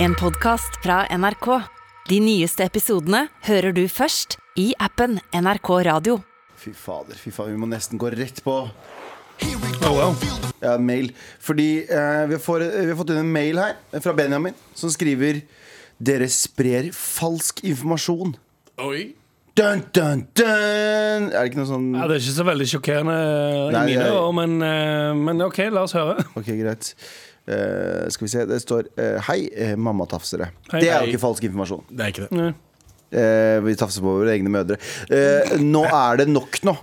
En podcast fra NRK. De nyeste episodene hører du først i appen NRK Radio. Fy fader, fy fader, vi må nesten gå rett på Oh, ja, mail. Fordi eh, vi, får, vi har fått inn en mail her eh, fra Benjamin, som skriver Dere sprer falsk informasjon. Oi. Dun, dun, dun! Er det ikke noe sånn Ja, det er ikke så veldig sjokkerende eh, Nei, i mine jeg- år, men, eh, men OK, la oss høre. Ok, greit. Eh, skal vi se, det står eh, Hei, eh, mammatafsere. Hei. Det er jo Hei. ikke falsk informasjon. Det er ikke det. Nei. Eh, vi tafser på våre egne mødre. Eh, nå er det nok nå.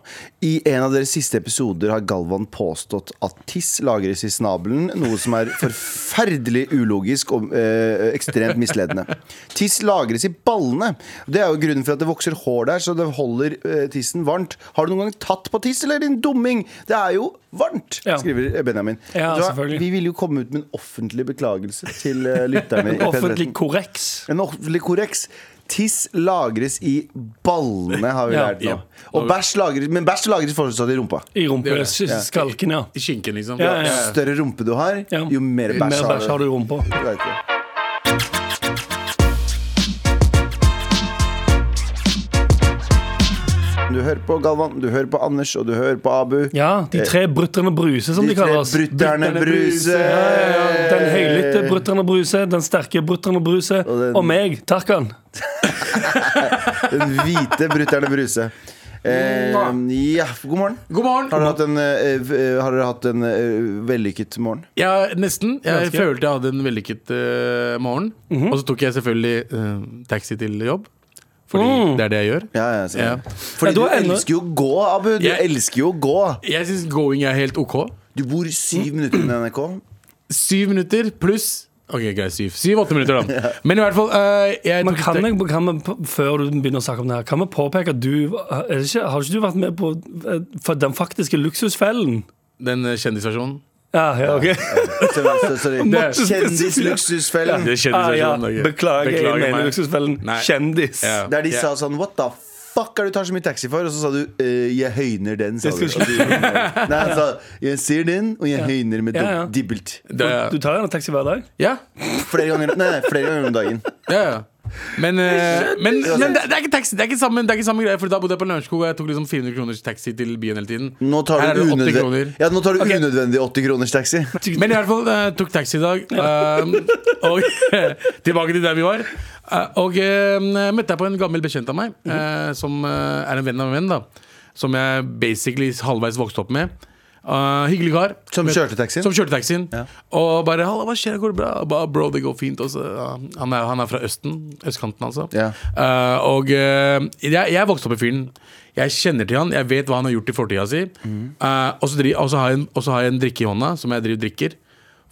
I en av deres siste episoder har Galvan påstått at tiss lagres i snabelen, noe som er forferdelig ulogisk og eh, ekstremt misledende. Tiss lagres i ballene. Det er jo grunnen for at det vokser hår der, så det holder eh, tissen varmt. Har du noen gang tatt på tiss, eller din dumming? Det er jo varmt, Ja. skriver Benjamin. Ja, Vet du hva? selvfølgelig. vi ville jo komme ut med en offentlig beklagelse til eh, lytterne. i P13. Offentlig korreks. En offentlig korreks. Tiss lagres i ballene, har vi Ja. lært nå. Ja. Og bæsj lagres, men bæsj lagres fortsatt i rumpa. I Det gjør det. rumpeskalken, ja. I skinken, liksom. Ja, ja, ja. Jo større rumpe du har, Ja. jo mer Mer bæsj bæsj har du i rumpa. Du vet det. Du hører på Galvan, du hører på Anders, og du hører på Abu. Ja, de tre brutterne Bruse, som De Eh. de, tre kaller oss. brutterne Bruse. Ja, ja, ja. Den høylytte brutterne Bruse, den sterke brutterne Bruse, og, den- meg, Tarkan. Den hvite brutter'n Bruse. Eh, ja, god morgen. God morgen! Har dere hatt en, eh, v- har dere hatt en eh, vellykket morgen? Ja, nesten. Jeg Ganske. Mhm. følte jeg hadde en vellykket eh, morgen. Og så tok jeg selvfølgelig eh, taxi til jobb, fordi Mm. det er det jeg gjør. Ja, ja, ja. Ja. Fordi Ja, du du, har ennå- elsker jo å gå, Abu. Du Jeg- elsker jo å gå. Jeg syns going er helt ok. Du bor syv minutter unna NRK. Syv minutter pluss Ok, greit, syv. Syv-åtte minutter, da. Men i hvert fall eh, jeg Men tok kan tak- jeg, kan vi, på- før du begynner å snakke om det her, kan vi påpeke at du er det ikke, Har ikke du vært med på eh, for den faktiske luksusfellen? den eh, kjendisversjonen. Ja, ja, ok. Sorry, sorry, sorry. Måtte Kjendisluksusfellen. Det er Ah, ja. kjendisversjonen. ok. Beklager, jeg meg. mener luksusfellen. Nei. Kjendis. Ja. Der de Ja. sa sånn What the fuck er det du tar så mye taxi for? Og så sa du «Eh, Jeg høyner den, sa du. Jeg skulle Og du- Nei, han sa jeg ser den, og jeg høyner med Ja, ja. dob- dobbelt. Det, Du tar gjerne taxi hver dag? ja. Flere ganger, nei, nei, flere ganger om dagen. Ja, ja. Men, eh, men, men det, det er ikke taxi, det er ikke samme, det er ikke samme greie. For da bodde jeg på Lørenskog, og jeg tok liksom 400 kroners taxi til byen hele tiden. Nå tar Her du, er det 80 unødvendig, kroner. ja, nå tar du unødvendig 80 kroners taxi. Men i hvert fall eh, tok taxi i dag. eh, og tilbake til der vi var. Eh, og eh, møtte jeg på en gammel bekjent av meg, Mhm. eh, som eh, er en venn av en venn, da. Som jeg basically halvveis vokste opp med. Eh, hyggelig kar. Som kjørte taxien? Som kjørte taxien. Ja. Og bare 'Halla, hva skjer? Går det bra?' Og bare, 'Bro, det går fint.' Og så, ja, han, er, han er fra Østen. Østkanten, altså. Ja. Eh, og eh, jeg, jeg vokste opp med fyren. Jeg kjenner til han, jeg vet hva han har gjort i fortida si. Mhm. Eh, og så dri- og så har jeg en- og så har jeg en drikke i hånda som jeg driver drikker.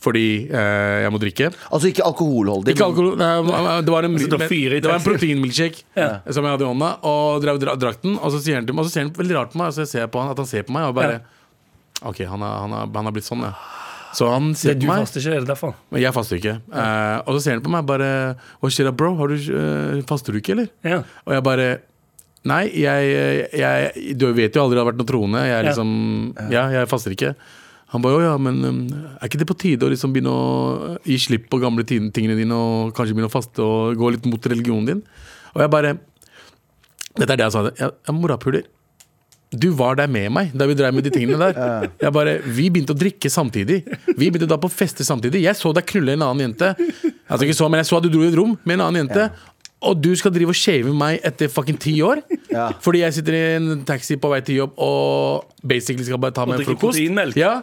Fordi eh, jeg må drikke. Altså ikke alkoholholdig. Ikke alkohol, nei, det var en, Så da fyrer i det var en taxi. proteinmilkshake Ja. som jeg hadde i hånda. Og drev dra- drakk den, og så sier han til meg Og så ser han veldig rart på meg, og så ser jeg på han at han ser på meg. Og bare Ok, han har, han har, han har blitt sånn, ja. Så han Det ser er på du meg. faster ikke, er det derfor? Men jeg faster ikke. Eh, og så ser han på meg bare Hva skjer da, bro? Har du, eh, faster du ikke, eller? Ja. Og jeg bare Nei, jeg, jeg Du vet jo aldri det har vært noe troende. Jeg er Ja. liksom Ja, jeg faster ikke. Han bare Å ja, men um, er ikke det på tide å liksom begynne å gi slipp på gamle ti- tingene dine og kanskje begynne å faste og gå litt mot religionen din? Og jeg bare Dette er det jeg sa. Jeg, jeg morapuler. Du var der med meg da vi drev med de tingene der. Jeg bare, Vi begynte å drikke samtidig. Vi begynte da på fester samtidig. Jeg så deg knulle en annen jente. Altså ikke så, men Jeg så at du dro i et rom med en annen jente. Og du skal drive og shave meg etter fucking ti år? Ja. Fordi jeg sitter i en taxi på vei til jobb og basically skal bare ta meg en drikke frokost. proteinmelk. Ja.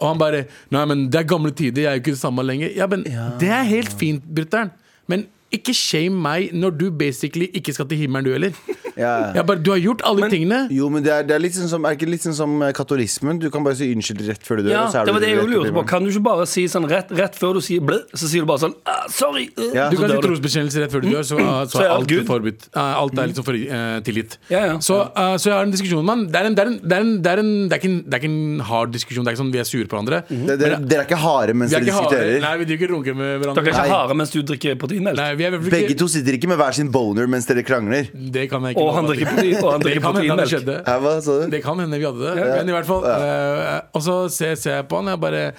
Og han bare Nei, men det er gamle tider, jeg er jo ikke det samme lenger. Ja, men det er helt fint, brutter'n. Men ikke shame meg når du basically ikke skal til himmelen, du heller. Ja. Jeg bare, du har gjort alle tingene. Jo, men det er, det er litt sånn som, er det ikke litt sånn som eh, katolismen. Du kan bare si unnskyld rett før du dør. Ja, og så er det var du det jeg rett opp også i lurte på. morgen. Kan du ikke bare si sånn rett, rett før du sier blæ, så sier du bare sånn ah, Sorry! øh», Ja. Du så kan dør si trosbekjennelse rett før du dør, så, så er alt good. forbudt. Eh, Alt er liksom for, eh, tilgitt. Ja, ja. Så, eh, så jeg har en diskusjon med han. Det er en- det er en- det er en- det er en- det er ikke en- det er ikke en hard diskusjon. Det er ikke sånn vi er sure på hverandre. Det- Dere dere er ikke harde mens Vi er dere ikke harde. diskuterer. Nei, vi driver ikke runke med Dere er hverandre. ikke Nei. harde mens du drikker proteinmelk? Nei, vi er i hvert fall Begge ikke to sitter ikke med hver sin boner mens dere krangler. Det kan jeg Og ikke love han at drikker, vi- protein, og han Det drikker kan hende det proteinmelk. skjedde. Hæ, hva sa du? Det kan hende vi hadde det. Men i hvert fall eh, Og så ser, ser jeg på han, og jeg bare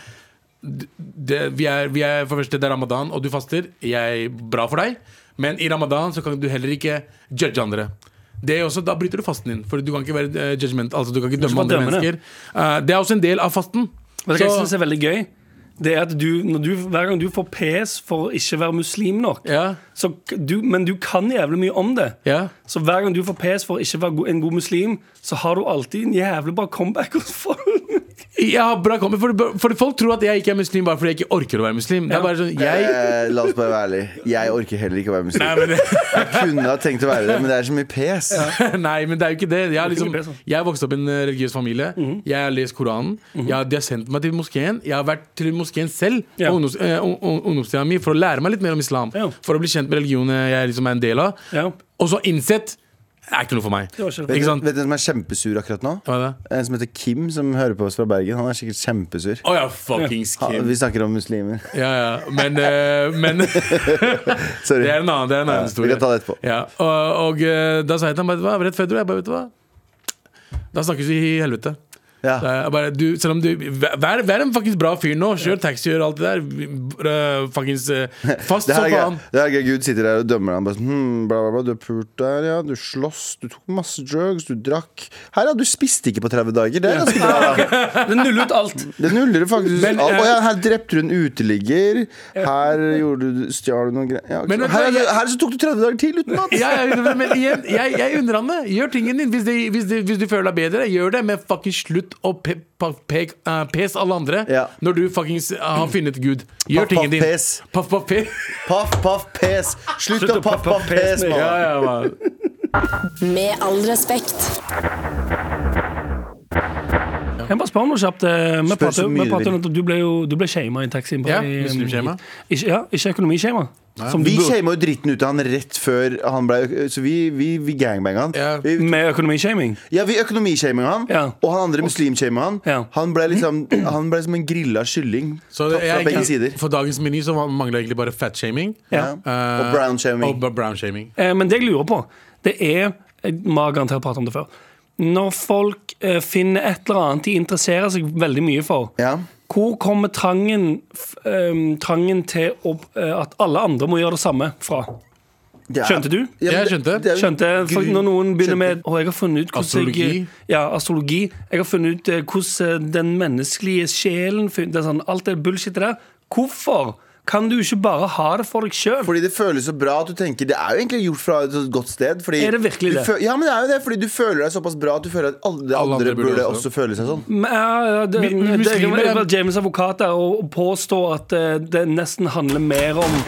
det, vi er, vi er, for det første, det er ramadan, og du faster. Jeg, bra for deg. Men i ramadan så kan du heller ikke judge andre. Det er også, Da bryter du fasten din. For du kan ikke være eh, judgment, altså du kan ikke dømme skal andre dømme det. mennesker. Eh, det er også en del av fasten. Vet du hva jeg Så- synes er veldig gøy? Det er at du, når du, Hver gang du får pes for å ikke være muslim nok, Ja, så k- du, men du kan jævlig mye om det. ja Så hver gang du får pes for å ikke være go- en god muslim, så har du alltid en jævlig bra comeback. hos folk. Jeg har bra kommet, for, for folk tror at jeg ikke er muslim bare fordi jeg ikke orker å være muslim. Det Ja. er bare sånn, jeg Eh, la oss bare være ærlige. Jeg orker heller ikke å være Nei muslim. men, Jeg kunne ha tenkt å være det, men det er så mye pes. nei, men det er jo ikke det. Jeg har liksom, Det er ikke det, sånn. Mhm. jeg har vokst opp i en eh, religiøs familie. Jeg har lest Koranen. Jeg har- de har sendt meg til moskeen. Jeg har vært til moskeen selv Ja. på ungdoms, eh, ung- ung- ungdomstida mi for å lære meg litt mer om islam. Ja. For å bli kjent med religionen jeg liksom er en del av. Ja, Og så innsett det er ikke noe for meg. det var ikke Vet Ikke du sant? vet du hvem som er kjempesur akkurat nå? Hva er det? En som heter Kim, som hører på oss fra Bergen. Han er sikkert kjempesur. Å ja, fuckings Ha, Kim. vi snakker om muslimer. Ja, ja. Men, eh, men Sorry. Det er en annen, det er en Ja, annen historie. vi kan ta det etterpå. Ja. Og, og eh, da sa jeg til ham bare, hva, rett før du, jeg bare, vet du hva? Da snakkes vi i helvete. Ja. Så Jeg bare, du, selv om du, vær, vær- vær en fuckings bra fyr nå. Kjør taxi, gjør alt det der. Vi- eh, Fuckings eh, fast Det som her, er gøy. faen. det her er gøy. Gud sitter der og dømmer deg. Han Bare sånn, hmm, bla, bla, bla, du har pult der, ja. Du sloss, du tok masse drugs, du drakk. Her, ja. Du spiste ikke på 30 dager. Det er ganske bra. da. Det nuller ut alt. Det nuller du faktisk Men, alt. eh, Å ja, her drepte du en uteligger. Her gjorde du, stjal du noen greier. Ja, ok. Men vet du her, hva, er det- jeg- her så tok du 30 dager til uten mat. Ja, ja, men igjen, jeg, jeg unner han det. Gjør tingen din. Hvis, det, hvis, det, hvis du føler deg bedre, gjør det. Men fucking slutt å pe, pa, pe, eh, pes alle andre Ja. når du fuckings eh, har funnet Gud. Paff, Gjør tingen paff, din. pes. Paff, paff, pes. Paff, paff, pes. Slutt å paff, paff, pes, mann. Ja, ja, man. Med all respekt. Jeg må bare spørre om noe kjapt. eh, Vi Spør så prater, mye vi du prater vil. om at du ble jo du ble shama i taxien. på Ja, vei- muslimshama. Ikke, ja, ikke økonomishama. Som du Vi burde- shama jo dritten ut av han rett før han ble Så vi, vi, vi gangbanga han. Ja. Vi, Med økonomishaming. Ja, vi økonomishaminga han, Ja. og han andre muslimshaminga han. Ja. Han, ble liksom, han ble som en grilla kylling Så fra, jeg, fra begge sider. For dagens meny så mangler egentlig bare fatshaming. Ja. og brown shaming. Og brownshaming. Eh, Men det jeg lurer på, det er Vi har garantert pratet om det før. Når folk eh, finner et eller annet de interesserer seg veldig mye for, Ja. hvor kommer trangen, f- eh, trangen til å, eh, at alle andre må gjøre det samme fra? Det er- Skjønte du? Ja, men Jeg det- skjønte. det er- Skjønte for Gud, Når noen begynner skjønte. med Å, jeg har funnet ut hvordan Astrologi. Jeg, ja, astrologi. Jeg har funnet ut eh, hvordan eh, den menneskelige sjelen fun- det er sånn, Alt det bullshitet der. Hvorfor kan du ikke bare ha det for deg sjøl? Fordi det føles så bra at du tenker Det er jo egentlig gjort fra et så godt sted. Fordi Er det virkelig du det? fø- ja, men det er jo det, fordi du føler deg såpass bra at du føler at alle, Alle andre burde også også føle seg sånn. Men, ja, ja, det, Mi- det, det, muslimer det er- var James advokat der og og påstå at eh, det nesten handler mer om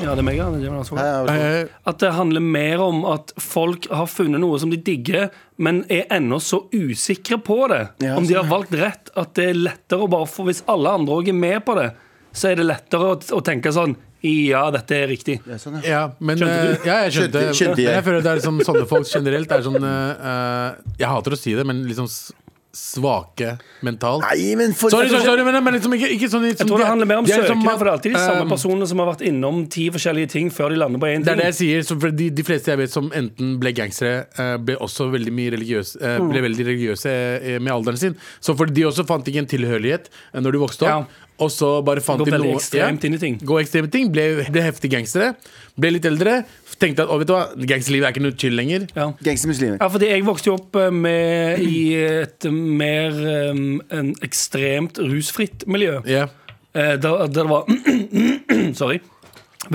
Ja, det er meg, ja. Det er James advokat. Ja, ja, Eh, At det handler mer om at folk har funnet noe som de digger, men er ennå så usikre på det. Ja, om de sånn, har valgt rett, at det er lettere å bare få Hvis alle andre òg er med på det, så er det lettere å, å tenke sånn Ja, dette er riktig. ja, sånn, ja. ja, men Skjønte eh, Ja, jeg skjønte. Skjønte- skjønte jeg. Men jeg føler det er liksom sånne folk generelt er sånn eh, eh, Jeg hater å si det, men liksom s- svake mentalt. Nei, men for Sorry, sorry, sorry, men, men liksom ikke, ikke sånn Jeg tror det handler mer om søkere, for det er alltid de eh, samme personene som har vært innom ti forskjellige ting før de lander på én Det er det ting. jeg sier. Så for de, de fleste jeg vet som enten ble gangstere, eh, ble også veldig mye religiøse, eh, Mm. ble veldig religiøse eh, med alderen sin. Så for de også fant ikke en tilhørighet eh, når de vokste opp. Og så bare fant Går de veldig noe ekstremt inn i ting. Gå ekstreme ting. Ble, ble heftige gangstere. Ble litt eldre. Tenkte at å, vet du hva, gangsterlivet er ikke noe chill lenger. Ja. Gangstermuslimer. Ja, fordi jeg vokste jo opp eh, med, i et mer em, en ekstremt rusfritt miljø. Ja. Eh, der, der det var Sorry.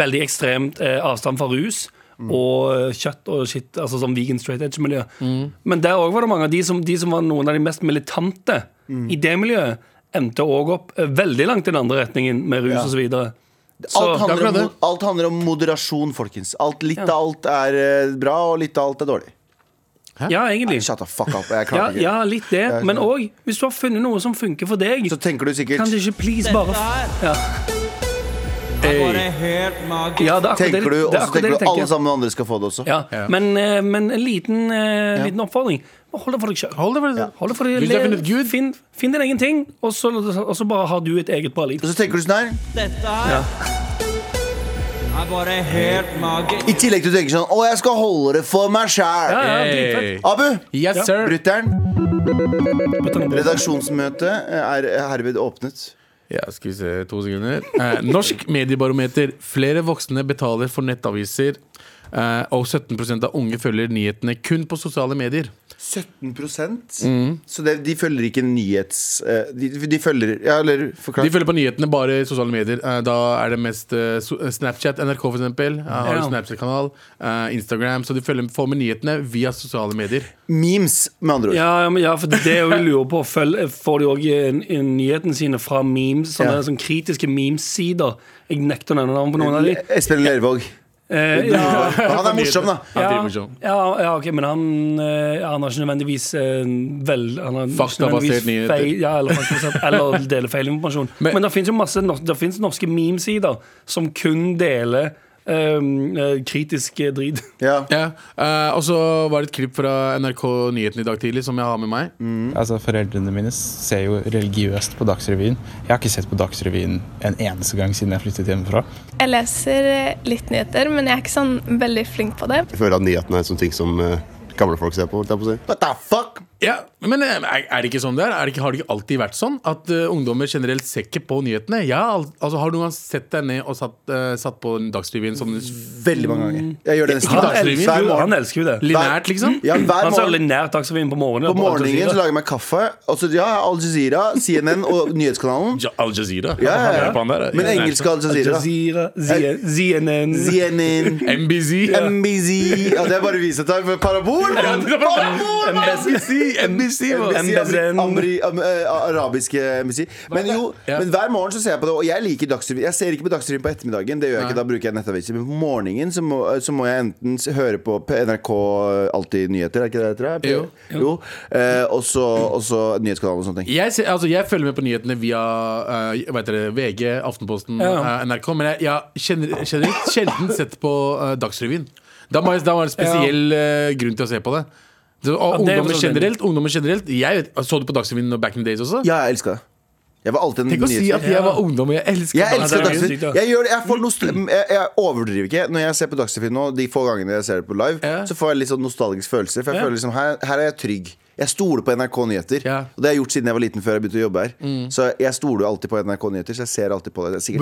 Veldig ekstremt eh, avstand fra rus og eh, kjøtt og shit, altså sånn vegan straight edge-miljø. Mm. Men der òg var det mange av de som, de som var noen av de mest militante Mm. i det miljøet, endte òg opp eh, veldig langt i den andre retningen med rus Ja. og så videre. Alt Så, handler, om, akkurat det. mo- alt handler om moderasjon, folkens. Alt, litt av alt er eh, bra, og litt av alt er dårlig. ja, egentlig. Shut the fuck up. Jeg Ja, klarer ikke. ja, litt det. er Men sånn. òg, hvis du har funnet noe som funker for deg, Så tenker du sikkert kan du ikke please bare ja. Bare helt magisk. ja, det er akkurat det- Tenker du, det og er så akkurat det tenker jeg du alle tenker. sammen andre skal få det også. Ja. Ja. Men, eh, men en liten, eh, liten oppfordring. Bare Hold det for deg sjøl. Hold det for det. Hold det for deg Hvis du har funnet Gud- Finn, finn din egen ting, og så, og så bare har du et eget bra liv. Og så tenker du sånn her Dette her er bare helt magisk. I tillegg til å tenke sånn Å, jeg skal holde det for meg sjæl. Ja, ja, Hey. dritfett. Abu, Yes, Ja. sir. brutter'n. Putt den på. Redaksjonsmøtet er eh, herved åpnet. Ja, skal vi se, to sekunder eh, Norsk mediebarometer Flere voksne betaler for nettaviser eh, Og 17% av unge følger nyhetene kun på sosiale medier 17 Mm. Så det, de følger ikke nyhets... eh, De, de følger Ja, eller forklar. De følger på nyhetene bare i sosiale medier eh, Da er det mest eh, so- Snapchat, NRK for eksempel eh, Har Ja. jo Snapchat-kanal eh, Instagram, så de følger får med nyhetene via sosiale medier Memes, med andre ord. Ja, ja, men ja, for det er jo jeg lurer på. Følg, får de òg eh, nyhetene sine fra memes? Sånne, Ja. sånne kritiske memes-sider. Jeg nekter å nevne navn på noen av de. Espen Lervåg. Eh, ja, Han er morsom, da. Han driver ja, med sånn. ja, ja, ok, men han, eh, han har ikke nødvendigvis eh, vel han har ikke Faktabasert nødvendigvis nyheter. feil- Ja, eller, faktabasert, eller deler feil informasjon. Men- Men, det finnes jo masse nor- det finnes norske memesider som kun deler eh, eh, kritisk eh, drit. Ja. ja. eh, Og så var det et klipp fra NRK Nyheten i dag tidlig Som jeg har med meg Altså, Foreldrene mine ser jo religiøst på Dagsrevyen. Jeg har ikke sett på Dagsrevyen en eneste gang siden jeg flyttet hjemmefra. Jeg leser eh, litt nyheter, men jeg er ikke sånn veldig flink på det. Jeg føler at nyhetene er sånne ting som eh, gamle folk ser på. holdt jeg på å si. What the fuck? Ja, men eh, er er det ikke sånn det er? er det ikke, har det ikke alltid vært sånn? At eh, ungdommer generelt ser ikke på nyhetene? Jeg har al altså, har du noen gang sett deg ned og satt, eh, satt på Dagsrevyen sånn Veldig mange ganger. Jeg gjør det nesten Han, hver- elsker, hver jo- han morgen. elsker jo det. linært, liksom? Ja, hver Han sa morgen. linært Dagsrevyen på morgenen. På på Al morgenen så Jazeera. lager jeg meg kaffe. Altså, ja, Al Jazeera, CNN og Nyhetskanalen. Ja, Al Jazeera. Ja, ja, Han er på han der, ja. eh, Men linært. engelsk Al Jazeera. Jazeera, Z- CNN CNN, MBZ. MBZ Ja, det er bare vi som tar for parabol! Parabol! MBC, MBC, MBZN. amri, am, eh, arabiske MBC. Men jo, Ja. men hver morgen så ser jeg på det, og jeg liker Dagsrevyen. Jeg ser ikke på Dagsrevyen på ettermiddagen, det gjør jeg ikke, da bruker jeg nettaviser. Men på morgenen så må, eh, så må jeg enten s- høre på P- NRK eh, Alltid nyheter, er ikke det det heter? da? Jo. jo. Eh, og så og så nyhetskanalen og sånne ting. Jeg, ser, altså, jeg følger med på nyhetene via eh, hva heter det, VG, Aftenposten, Ja. eh, NRK. Men jeg, jeg kjenner, generelt sjelden sett på eh, Dagsrevyen. Da må jeg- da var det en spesiell eh, grunn til å se på det. Ja, Så, og det er ungdommer, for så vidt. generelt, ungdommer generelt Jeg vet, Så du på Dagsrevyen back in the days også? Ja, jeg elsker det. Jeg var alltid en Tenk å si at nyhetskanal. jeg var ungdom og jeg elsker Jeg elsker det er jo Dagsrevyen. sykt, da. Jeg, gjør det, jeg, får nostal- jeg, jeg overdriver ikke. Når jeg ser på Dagsrevyen nå, de få gangene jeg ser det på live, Ja. så får jeg litt sånn nostalgisk følelse. For jeg Ja. føler liksom, her, her er jeg trygg. Jeg stoler på NRK Nyheter. Ja. Mm. Og det har jeg gjort siden jeg var liten, før jeg begynte å jobbe her. Så jeg stoler jo alltid på NRK Nyheter, så jeg ser alltid på det. det er sikkert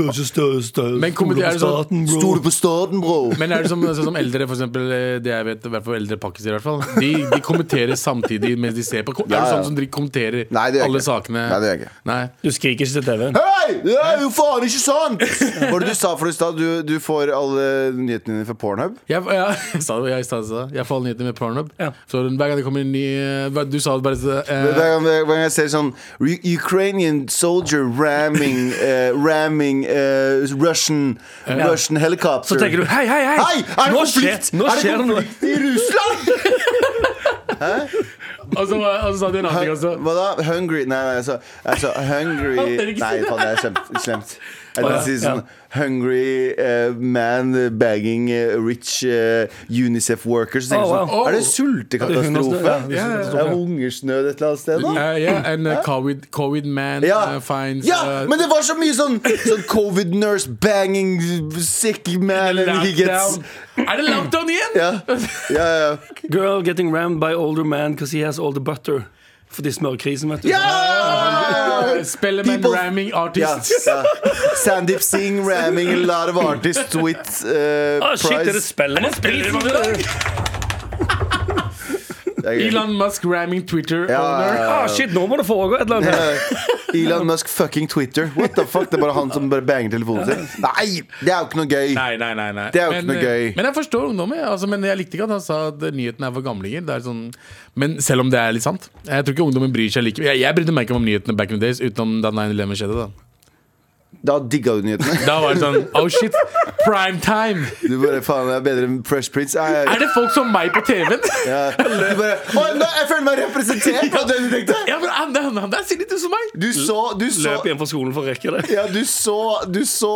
Men kommer- er det sånn- Stoler på staten, bro! Men er det som, sånn som eldre, for eksempel eh, Det jeg vet, i hvert fall eldre pakkiser i hvert fall de, de kommenterer samtidig mens de ser på Er det Ja, ja. sånn som de kommenterer Nei, det gjør jeg alle ikke. sakene? Nei, det gjør jeg ikke. Nei. Du skriker ikke til TV-en. Hei! Det er jo faen ikke sant! Hva var det du sa for det i stad? Du, du får alle nyhetene dine fra Pornhub? Jeg, jeg, jeg, sa det, jeg, sa det, jeg får alle nyheter med Pornhub Ja. Så hver gang det kommer en ny eh, hva- Du sa det bare så, eh, Hver gang, hver gang jeg ser sånn "Re- Ukrainian soldier ramming eh, Ramming eh, Russian Russian helicopter Så tenker du hei, hei, hei! Hei! Er det nå konflikt? skjer, nå er det skjer det noe! konflikt i Russland? Og så var- og så sa de en annen ting altså- også Hva da? Hungry? Nei, nei, altså, altså Hungry det er ikke Nei, faen, det er slemt. slemt. Jeg Å, kan ja, si sånn Hungry eh, man bagging eh, rich eh, Unicef workers. Så tenker Å, jeg wow. sånn, er det Ja, sultekatastrofe? det er Ja, ja, ja. Er hungersnød et eller annet sted? da? Eh, Ja, en eh, covid, covid man Ja. eh, finds ja, eh, men det var så mye sånn, sånn covid nurse banging sick man and he gets lockdown. Er det lockdown igjen? ja. Ja, ja, Girl getting rammed by older man because he has all the butter. Fordi smørkrisen, vet du. ja. Eh, Spellemann People- ramming Ja, artist ja. Sandeep Singh ramming a lot of artists with uh, Ah, shit, dere prize. spiller med prisen! Elon Musk ramming Twitter Ja, owner ja, Ah, shit, nå må det foregå et eller annet. ja. Eh, Elon Musk fucking Twitter. What the fuck? Det er bare han som bare banger telefonen sin. Nei, det er jo ikke noe gøy. Nei, nei, nei, nei. Det er jo ikke men, noe eh, gøy. Men jeg forstår ungdommen. Altså, men jeg likte ikke at han sa at nyheten er for gamlinger. Det er sånn, men selv om det er litt sant. Jeg tror ikke ungdommen bryr seg like Jeg, jeg brydde meg ikke om nyhetene back in the days utenom da 9-11 skjedde. Da Da digga du nyhetene. Da var det sånn Oh shit, prime time! Du bare faen, det er bedre enn Fresh Prince. Nei, Er det folk som meg på TV-en? ja. Du bare, Å, nå, jeg føler meg representert! Var det det du tenkte? Ja, men han, han, han der ser litt ut som meg! Du så, du så Løp hjem fra skolen for å rekke det. ja, du så Du så,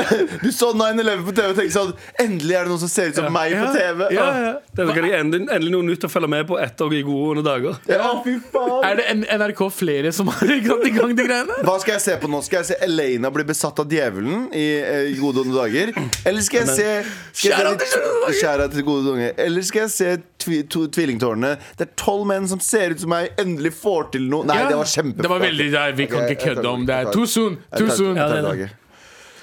eh, du så 9-11 på TV og tenkte sånn Endelig er det noen som ser ut som meg på TV. Ja, Å, ja. Det er sikkert endelig, endelig noe nytt å følge med på etter de gode under dager. ja, fy faen Er det N- NRK flere som har satt i gang de greiene? Hva skal jeg se på nå? Skal jeg se Elena jeg bli besatt av djevelen i eh, gode onde dager? Eller skal jeg se skal jeg se litt- Skjæra til gode unge. Eller skal jeg se tvi, to, Tvillingtårnene? Det er tolv menn som ser ut som meg, endelig får til noe. Nei, Ja. det var kjempe Det var veldig, det er- vi kan Ok, ikke jeg tar kødde om det. det. Jeg er tar Too det. soon! Jeg Too tar- soon! jeg tar Ja, det er laget.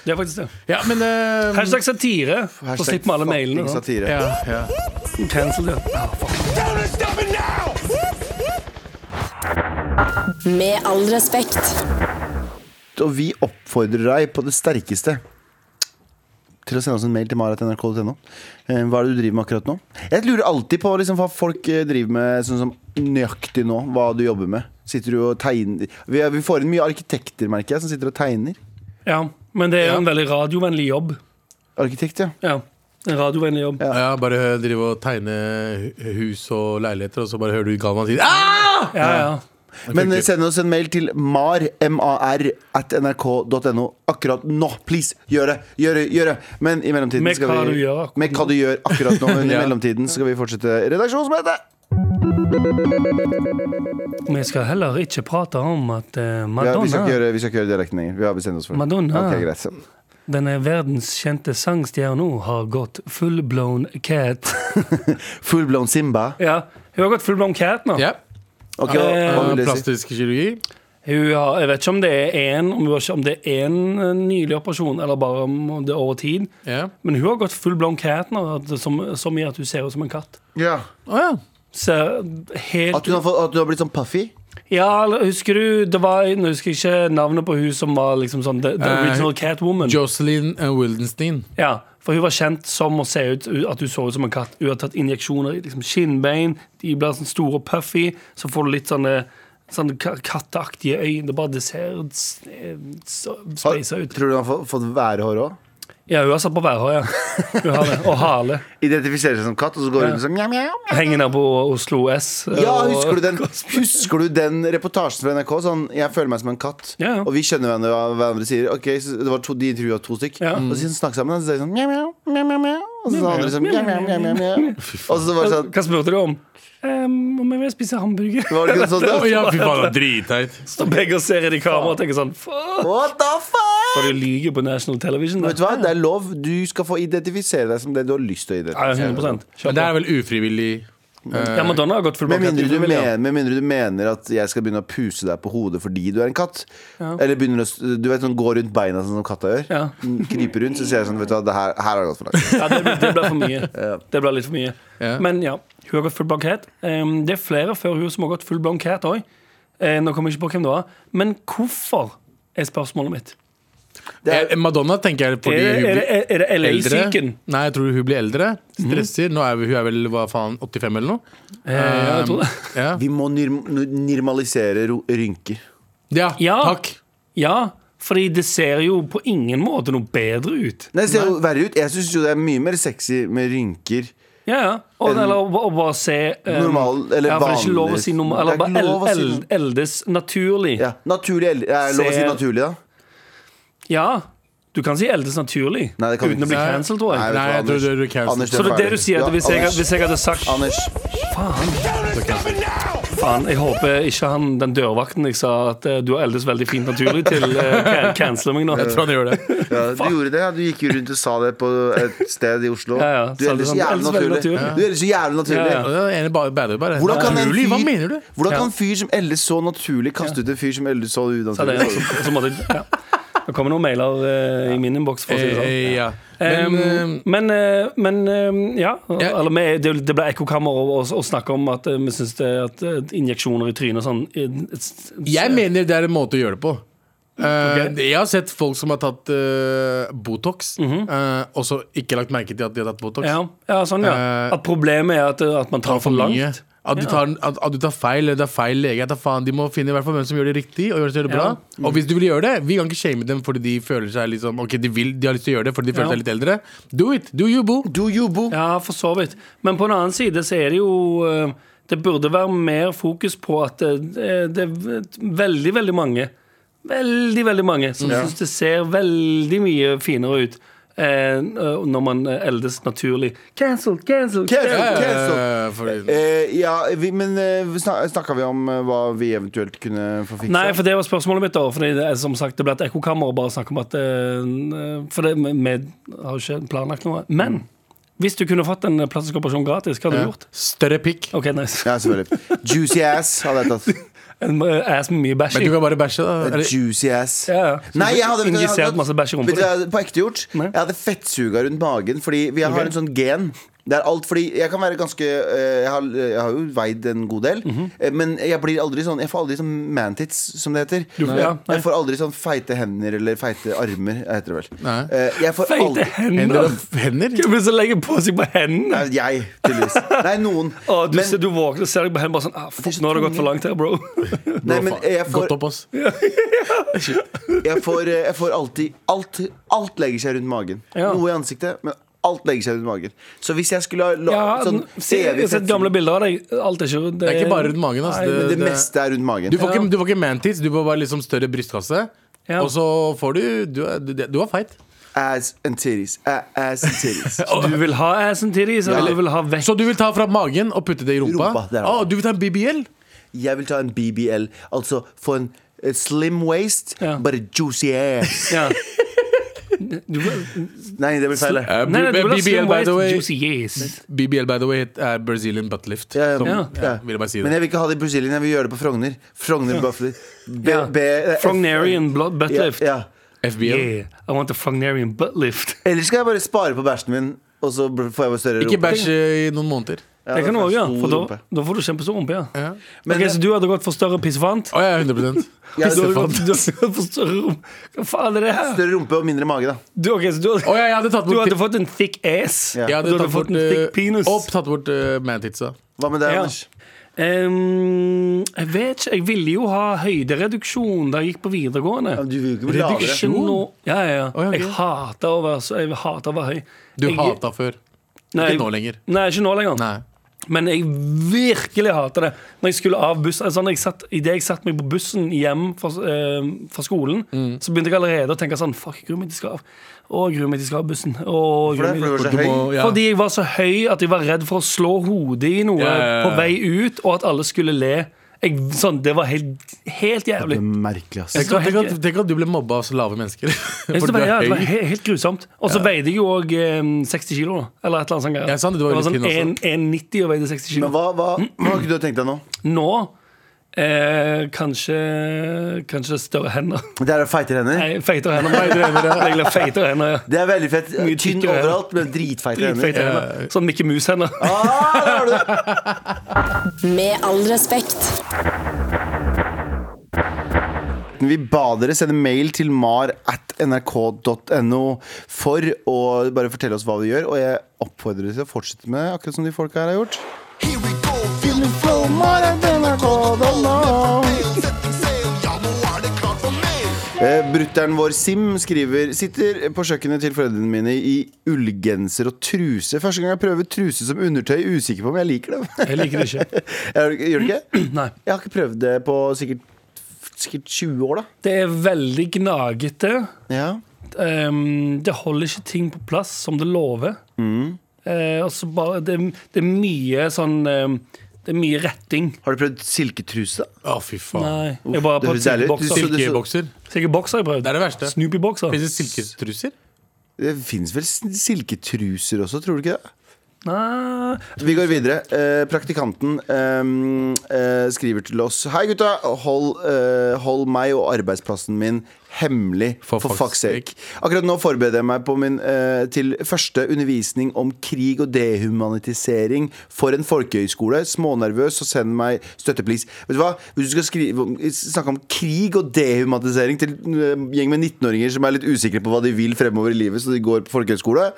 Det er faktisk det. Ja, men eh, Hashtag satire. Så Hashtag slipper vi alle fucking mailene. da. Mm, satire. ja, ja. Cancel det. Med all respekt. Og vi oppfordrer deg på det sterkeste til å sende oss en mail til marat.nrk.no. Eh, Hva er det du driver med akkurat nå? Jeg lurer alltid på liksom, hva folk eh, driver med sånn som nøyaktig nå. Hva du jobber med. Sitter du og tegner Vi, er- vi får inn mye arkitekter, merker jeg, som sitter og tegner. Ja, men det er jo en veldig radiovennlig jobb. Arkitekt, ja. Ja, en radiovennlig jobb. ja, bare drive og tegne hu- hus og leiligheter, og så bare hører du Galvan si ah! Ja, ja. Men eh, send oss en mail til mar, mar at nrk.no akkurat nå. Please, gjør det! Gjør det! gjør det Men i mellomtiden Med skal hva vi du gjør akkurat Med hva du gjør akkurat nå. Men i Ja. mellomtiden skal vi fortsette redaksjonsmøtet! Vi skal heller ikke prate om at Ja, eh, vi, skal Madonna ikke gjøre, vi skal ikke gjøre dialekten lenger. Vi har bestemt oss for det. Madonna. Ok, greit. denne verdenskjente sangstjerna, har gått full-blown cat. Full blown Simba. ja, hun har gått full-blown cat nå. Ja. Ok, hva, hva vil det si? Eh, Plastisk kirurgi. Hun har, jeg vet ikke om det er én om hun har- om det er en eh, nylig operasjon, eller bare om det er over tid. Ja. Men hun har gått full-blown cat nå, at- som, som i at hun ser ut som en katt. Å ja. Ser At helt du, har fått, at du har blitt sånn puffy? Ja, eller husker du Det var, Nå husker jeg ikke navnet på hun som var liksom sånn The, the Eh, original Catwoman. Jocelyn eh, Wildenstein. Ja, for hun var kjent som å se ut At hun så ut som en katt Hun har tatt injeksjoner i liksom skinnbein De blir sånn store og puffy Så får du litt sånne Sånne ka- katteaktige øyne Det bare det ser s- eh, s- Har, Spacet ut tror du han har fått, fått værhår òg? Ja, hun har satt på værhår, ja Hun har det Og hale Identifiserer seg som katt, og så går hun som mjau, mjau. mjau. Henger der på Oslo S Ja, husker du, den, husker du den reportasjen fra NRK? Sånn, 'Jeg føler meg som en katt', Ja, ja. og vi skjønner hverandre hva hverandre sier. Ok, så Det var to, De intervjua to stykk, Ja. og så snakker sammen, og så sier de sånn mjau, mjau, mjau, mjau, mjau. Og så sa andre sånn mjau, mjau, mjau, mjau, mjau. Og så var det sånn Hva spurte du om? Ehm, om jeg vil spise hamburger Var det ikke sånn? Å det? ja, fy faen, det er dritteit. Så begge og ser i de kamera og tenker sånn Fuck What the fuck? Så de lyger på national television Vet du hva? Det er lov. Du skal få identifisere deg som det du har lyst til å Ja, identifisere deg som. 100% Kjør Men på. det er vel ufrivillig eh, Ja, Madonna har gått full Med blokkert mindre, du ufrivillig, ja. mener, med mindre du mener at jeg skal begynne å puse deg på hodet fordi du er en katt. Eller begynner å s- du vet, sånn, gå rundt beina sånn som katta gjør. Ja. Krype rundt, så sier jeg sånn Vet du hva, det her, her har det gått for langt. Ja, det ble, det ble for mye. Det ble litt for mye. Ja. Men ja, hun har gått full blankett. Um, det er flere før hun som har gått full blankett òg. nå kommer jeg ikke på hvem det var. Men hvorfor er spørsmålet mitt? Eh, Madonna tenker jeg fordi Er, hun det- er, blir det- er det eldre. LA-syken? Nei, jeg tror hun blir eldre. Stresser. Nå er vi- hun er vel hva faen, 85 eller noe? ja, jeg tror det. ja. Vi må nirm- normalisere ro- rynker. Ja, Ja. takk. Ja, fordi det ser jo på ingen måte noe bedre ut. Nei, det ser jo verre ut. Jeg syns jo det er mye mer sexy med rynker. Ja, ja. Og, eller å- å bare se um, Normal, eller ja, for Det er ikke lov å vanlig. si normal. Eller Det er bare ikke lov el, å si el, eldes naturlig. Ja. Ja, naturlig eld- Er det lov å si Ser- naturlig, da? Du kan si eldes naturlig Nei, det kan du uten å ikke bli si. cancelled, tror jeg. vet du Nei, hva, jeg tror Anders. du- du er cancelled. Anders, Så det er det ferdig. du sier, at hvis jeg, Anders, hvis jeg hadde sagt Anders, Faen. Faen, jeg håper ikke han, den dørvakten jeg sa at eh, du har eldes veldig fint naturlig til, eh, can- canceler meg nå. Jeg tror han gjør det. ja, du gjorde det. ja. Du gikk jo rundt og sa det på et sted i Oslo. Ja, ja. Du er ellers Sa det sånn, jævlig ellers naturlig. veldig naturlig. Du er ellers så jævlig naturlig. Ja, ja. Og det er enig, bare, bare, bare. Hvordan kan en Naturlig, fyr- Hva mener du? Hvordan Ja. kan en fyr som eldes så naturlig, kaste ut en fyr som eldes så Sa unaturlig? det, og så- og så måtte jeg ja. Det kommer noen mailer eh, i min innboks, for å si det sånn. Eh, ja. Em, Men, eh, men, eh, men eh, ja. Ja. Eller, vi, det, det ble ekkokammer å å- å snakke om at eh, vi syns det at eh, injeksjoner i trynet og sånn eh, s- s- jeg mener det er en måte å gjøre det på. Eh, Jeg har sett folk som har tatt eh, Botox, eh, og så ikke lagt merke til at de har tatt Mhm. Botox. ja, ja, sånn, ja. Eh, At problemet er at, eh, at man tar for mye. langt. At du, tar, at, at du tar feil, eller det er feil lege. jeg tar faen, de må finne i hvert fall hvem som gjør det riktig. Og, gjør det, så gjør det bra. Ja. og hvis du vil gjøre det, vi kan ikke shame dem fordi de føler seg litt sånn Ok, de, vil, de har lyst til å gjøre det fordi de føler Ja. seg litt eldre. Do it! Do you, boo! Do you, boo? Ja, for så vidt. Men på den annen side så er det jo eh, Det burde være mer fokus på at eh, det er veldig, veldig mange Veldig, veldig mange som synes syns det ser veldig mye finere ut eh, når man eldes naturlig. Cancel, Cancel, cancel, cancel. cancel. Eh, fordi- Eh, ja, vi, men eh, snak- snakka vi om eh, hva vi eventuelt kunne få fiksa? Nei, for det var spørsmålet mitt. da Fordi det, er som sagt, det ble et ekkokammer å bare snakke om at eh, For det, vi vi har jo ikke planlagt noe. Mm. Men hvis du kunne fått en plastisk operasjon gratis, hva hadde du gjort? Større pikk. Ok, nice Ja, selvfølgelig. Juicy ass hadde jeg tatt. En eh, ass med mye bæsj Men i. du kan bare bæsje, da. Eh, Eller, Juicy ass. Ja, ja. Så Nei, du jeg hadde vet du hva jeg Injisert hadde- masse bæsj i Vet du rumpa. hva jeg hadde på ekte gjort? Nei. Jeg hadde fettsuga rundt magen, fordi vi har Ok. en sånn gen. Det er alt, fordi Jeg kan være ganske eh, jeg, har, jeg har jo veid en god del, Mhm. eh, men jeg blir aldri sånn Jeg får aldri sånn mantits, som det heter. Du- ja, nei. jeg får aldri sånn feite hender eller feite armer, heter det vel. Nei. Eh, Jeg får Feite aldri hender hender. og hender? Hvem er det som legger på seg på hendene? Nei, Jeg, tydeligvis. Nei, noen. Å, du, Men- ser, du våkner og ser deg på hendene bare sånn ah, fuck, Nå har det gått for langt her, bro. Nei, men jeg får, Godt opp oss. jeg får, eh, jeg får alltid alt, alt legger seg rundt magen. Ja. Noe i ansiktet, men alt legger seg rundt magen. Så hvis jeg skulle ha la, Ja, sånn se, jeg evig har sett gamle bilder av deg. Alt er ikke Det, er ikke bare rundt magen, ass. Nei, Det- men Det det- meste er rundt magen. Du får ikke, du får ikke mantids, du får bare liksom større brystkasse. Ja. Og så får du Du, er- du, du er feit. Ass and titties. A- Ass and titties. Du vil ha assen tidlig, så du vil ha vekk Så du vil ta fra magen og putte det i rumpa? Rumpa, det er det. Å, du vil ta en BBL? Jeg vil ta en BBL. Altså få en eh, slim waist, Ja. bare juicy ass. ja. du, vil- Nei, det blir feil. det. Eh, Nei, nei, du vil ha BBL, slim by the way, waist, juicy yes. BBL, by the way, er Brazilian butt lift. Ja, ja, Som, ja. ja, Vil jeg bare si Men det. jeg vil ikke ha det i Brasilien, jeg vil gjøre det på Frogner. Frogner Buffler. B- Ja. B- Frognarian blood butt uh, Ja, lift. ja. FBL. Yeah, I want a Frognarian butt lift. Eller skal jeg bare spare på bæsjen min, og så bl- får jeg bare større Ikke rumpe? bæsj eh, i noen måneder. Ja, det kan du får òg, ja. stor For da, rumpe. da får du kjempestor rumpe. Ja. Ja. Men- Ok, så du hadde gått for større pissefant? Å ja, 100 Ja, Du større hadde gått du hadde gått for større rumpe Hva faen er det her? rumpe og mindre mage, da. Du, ok, så du, Å hadde, ja, jeg hadde tatt du bort hadde fått en thick ass. Ja. Jeg Og hadde du hadde tatt bort, fått en thick eh, penis. Og tatt bort eh, mantidsa. Hva med deg, Ja. Anders? Ehm, jeg vet ikke. Jeg ville jo ha høydereduksjon da jeg gikk på videregående. Du vil jo ikke bli bli lavere. lavere. Ikke noe- Ja, ja, ja. Å, ja, ok. Jeg hater å være, så, jeg hater å være høy. Du jeg, hata før. Nei, nå lenger. Nei, ikke nå lenger. Nei. Men jeg virkelig hater det. Når jeg skulle av bussen altså, når jeg satt, I det jeg satt meg på bussen hjem fra, eh, fra skolen, Mm. så begynte jeg allerede å tenke sånn Fuck, jeg gruer meg til jeg skal av. Å, jeg gruer meg til jeg skal av bussen. For Å, jeg det gruer er meg fordi du var så til Du høy. må, ja. fordi jeg var så høy at jeg var redd for å slå hodet i noe Ja, ja, ja. på vei ut, og at alle skulle le. Jeg, sånn, det var helt, helt jævlig. merkelig, ass. Tenk at- Jeg tenk så at- Tenk at du ble mobba av så lave mennesker. Jeg synes Fordi det du var, ja, er det var høy. helt, helt grusomt. Og så veide jeg jo òg eh, 60 kilo, da. Eller et eller annet sånt. greier. Ja, sant, du var det var litt sånn tynn 1- 1,90 og veide Men 60 kilo. hva, hva, hva har ikke du tenkt deg nå? Nå eh, kanskje, kanskje større hender. Det er feitere hender. Nei, feitere hender. Jeg vil ha feitere hender, ja. Det er veldig fett. Mye Tynn tykkere. overalt, men dritfeitere hender. Dritfeitere hender. Sånn Mikke Mus-hender. Ah, der har du det. Med all respekt. Vi ba dere sende mail til mar at nrk.no for å bare fortelle oss hva vi gjør. Og jeg oppfordrer dere til å fortsette med det, akkurat som de folka her har gjort. Eh, Brutter'n vår Sim skriver Sitter på kjøkkenet til foreldrene mine i ullgenser og truse. Første gang jeg prøver truse som undertøy, usikker på om jeg liker det. Jeg liker det ikke. Gjør du gjør du ikke? Nei. Jeg har ikke prøvd det på sikkert, sikkert 20 år, da. Det er veldig gnagete. Ja. Ehm, det holder ikke ting på plass som det lover. Mm. Eh, og så bare, det, det er mye sånn ehm, Det er mye retting. Har du prøvd silketruse? Å, fy faen. Nei. Uff, Jeg bare det har høres deilig ut. Du Altså, prøvd synes- Silkebokser. Silkebokser har jeg prøvd. Det er det verste. Snoopy-bokser. Fins det silkestruser? Det fins vel s- silketruser også, tror du ikke det? Nei. Vi går videre. Eh, praktikanten ehm, eh, skriver til oss Hei, gutta. Hold, eh, hold meg og arbeidsplassen min hemmelig, for, For fuck's fuck's sake. Akkurat nå forbereder jeg meg på min, eh, til første undervisning om krig og dehumanitisering for en folkehøyskole. Smånervøs, så send meg støtte, please. Vet du hva? Hvis du skal skrive, om- snakke om krig og dehumanisering til en gjeng med 19-åringer som er litt usikre på hva de vil fremover i livet, så de går på folkehøyskole,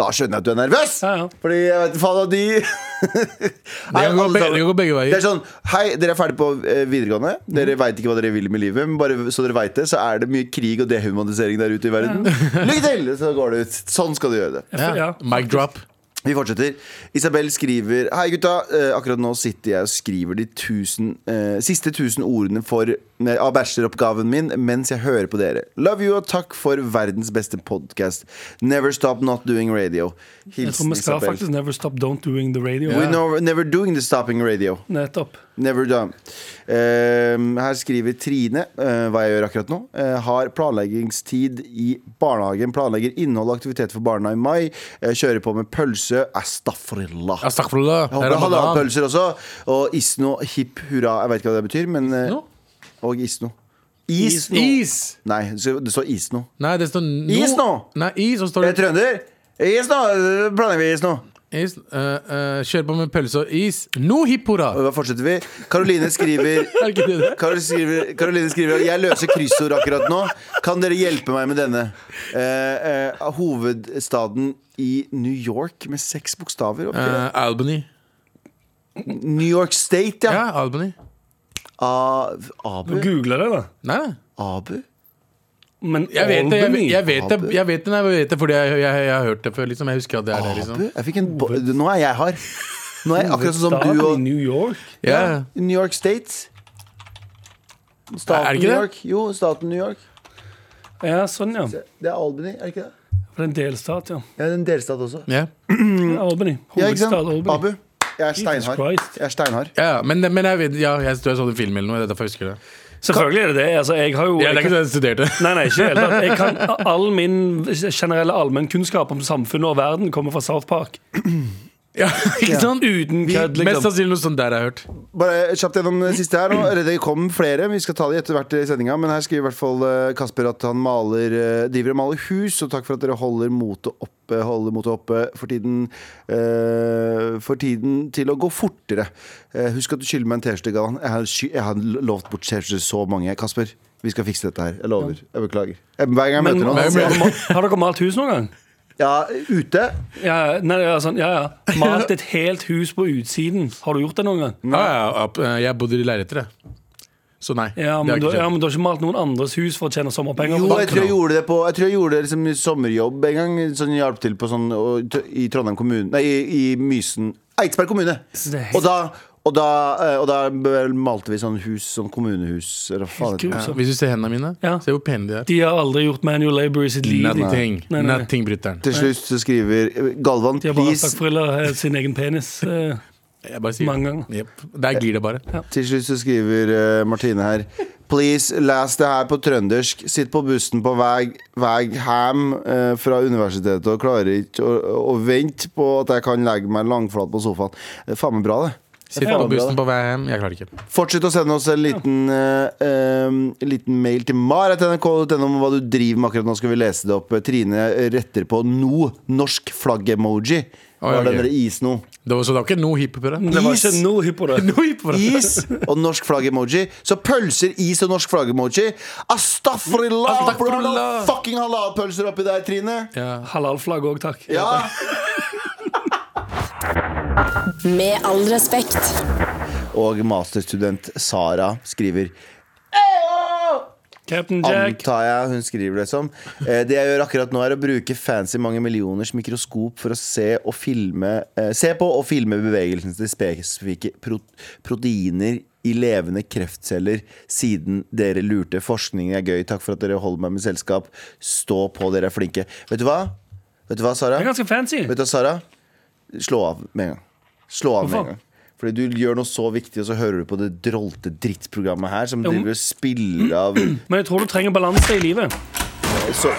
da skjønner jeg at du er nervøs! Ja, ja. Fordi jeg vet faen at de Nei, kan gå alle sammen. be- det kan gå begge veier. Mhm. Det er sånn Hei, dere er ferdig på eh, videregående. Dere vet veit ikke hva dere vil med livet, men bare så dere veit det, så er det mye krig og dehumanisering der ute i verden. Lykke til! Så går det ut. Sånn skal du gjøre det. Ja. Mic drop. Vi fortsetter. Isabel skriver Hei, gutta. Eh, akkurat nå sitter jeg og skriver de tusen, eh, siste tusen ordene for, nei, av bacheloroppgaven min mens jeg hører på dere. Love you og takk for verdens beste podkast. Never stop not doing radio. Jeg tror Hilsen vi skal Isabel. faktisk never stop don't doing the radio. We're no, never doing the stopping radio. Nettopp. Never done. Ehm, her skriver Trine eh, hva jeg gjør akkurat nå. Eh, har planleggingstid i barnehagen. Planlegger innhold og aktivitet for barna i mai. Eh, kjører på med pølse. Astafrillah. Astaghfirullah. Jeg håper halalpølser også. Og isno, hipp hurra. Jeg vet ikke hva det betyr, men eh, No. Og isno. Is. Is! Nei, det står- det står isno. Nei, det står no. Is nå! Nei, is, og så Er står det det trønder? Is nå! Planlegger vi isno? is. eh, eh, kjør på med pølse og is. No hipp hurra! Og da fortsetter vi. Karoline skriver Er ikke det det? Karol skriver, Karoline skriver Jeg løser kryssord akkurat nå Kan dere hjelpe meg med denne eh, eh, Hovedstaden i New York Med seks bokstaver ok. Eh, Albany. New York State, ja, Ja, Albany. A- Du Abu? googler det, da. Nei, nei. Abu? Men Jeg vet det, jeg, Albany- jeg vet det, jeg vet det, nei, jeg vet det fordi jeg, jeg, jeg, har hørt det før. Liksom. Jeg husker at det er det. Abu? Liksom. sånn? Jeg fikk en bo- Nå er jeg hard Nå er jeg akkurat sånn som Staten du i og New York. Ja. New York State Staten Er det ikke New det? York Jo, staten New York Ja, sånn, ja. Det Det er Albany, er det ikke det? er en delstat, ja. Ja, det er en delstat også Ja. Albany. Mm. Ja, ikke sant? Hovedstad Albany. Abu Jeg er steinhard Christ. Jeg er steinhard Ja, men, men jeg vet ja, Jeg tror jeg så det i film eller noe. Det er derfor jeg husker det. Selvfølgelig er det det. Altså, jeg har jo Ja, det er ikke sånn jeg studerte. Nei, nei, ikke i det hele tatt. Jeg kan, all min generelle allmennkunnskap om samfunnet og verden kommer fra South Park. Ja, ikke sant? Uten kødd, Mest liksom. sannsynlig noe sånt der jeg har hørt. Bare kjapt gjennom det siste her nå. Eller Det kom flere, vi skal ta de etter hvert i sendinga. Men her skriver i hvert fall eh, Kasper at han maler, eh, driver og maler hus. Og takk for at dere holder motet oppe, holder motet oppe for tiden eh, For tiden til å gå fortere. Eh, husk at du skylder meg en T-skjorte, Galvan. Jeg har, sky- jeg har lovt bort T-skjorter så mange. Kasper, vi skal fikse dette her. Jeg lover. Jeg beklager. Jeg, hver gang jeg Men møter har noen, sier jeg dere, har dere malt hus noen gang? ja, ute. Ja, nei, ja, sånn, ja, ja. Malt et helt hus på utsiden. Har du gjort det noen gang? Ja, ja, ja, jeg bodde i leiligheter, jeg. Så nei. Ja, men, det har du, jeg ja, ikke skjedd. men du har ikke malt noen andres hus for å tjene sommerpenger? Jo, på jeg tror jeg banken, da? gjorde det på Jeg tror jeg gjorde det liksom i sommerjobb en gang. Sånn jeg hjalp til på sånn og, t- i Trondheim kommune Nei, i, i Mysen Eidsberg kommune. Så det er helt- Og da, og da, eh, og da b- malte vi sånn hus, sånn kommunehus. Eller hva faen Helt heter det? grusomt. Ja, Hvis du ser hendene mine, Ja. se hvor pene de er. De har aldri gjort manual labor i sitt liv. De- Nothing. Nei, nei, nei. Nothing, brytteren. Til slutt så skriver eh, Galvan, De har bare please stakkfrilla sin egen penis. eh, Jeg bare sier Mange det. ganger. Jep. Der glir det bare. Til slutt så skriver eh, Martine her Please, les det her på trøndersk Sitt på bussen på vei, vei hjem eh, fra universitetet Og klarer ikke å, å vente på at jeg kan legge meg langflat på sofaen Det er faen meg bra det Sitt på bussen på vei hjem. Jeg klarer det ikke. Fortsett å sende oss en liten, eh, em, liten mail til mar.nrk.no om hva du driver med akkurat nå. Skal vi lese det opp? Trine retter på no norsk flagg-emoji. Oi, Var ok. den der is nå? Det var, så det var ikke noe hipp på det? Det var Is. ikke noe hypp på det. Noe hipp på det. Is og norsk flagg-emoji. Så pølser, is og norsk flagg-emoji. Astafrillah! bro, Astagfirullah. noe Fucking halalpølser oppi der, Trine. Ja. Halalflagg òg, takk. Ja. Med all respekt. Og masterstudent Sara skriver Captain Jack. Antar jeg hun skriver det som. Eh, det jeg gjør akkurat nå, er å bruke fancy mange millioners mikroskop for å se, og filme, eh, se på og filme bevegelsen til spesifikke pro proteiner i levende kreftceller siden dere lurte. Forskning er gøy. Takk for at dere holder meg med selskap. Stå på, dere er flinke. Vet du hva? Vet du hva, Sara? Det er ganske fancy. Vet du hva, Sara? Slå av med en gang. Slå av med Hvorfor? en gang. Fordi du gjør noe så viktig, og så hører du på det drolte drittprogrammet her som driver og spiller av Men jeg tror du trenger balanse i livet. så,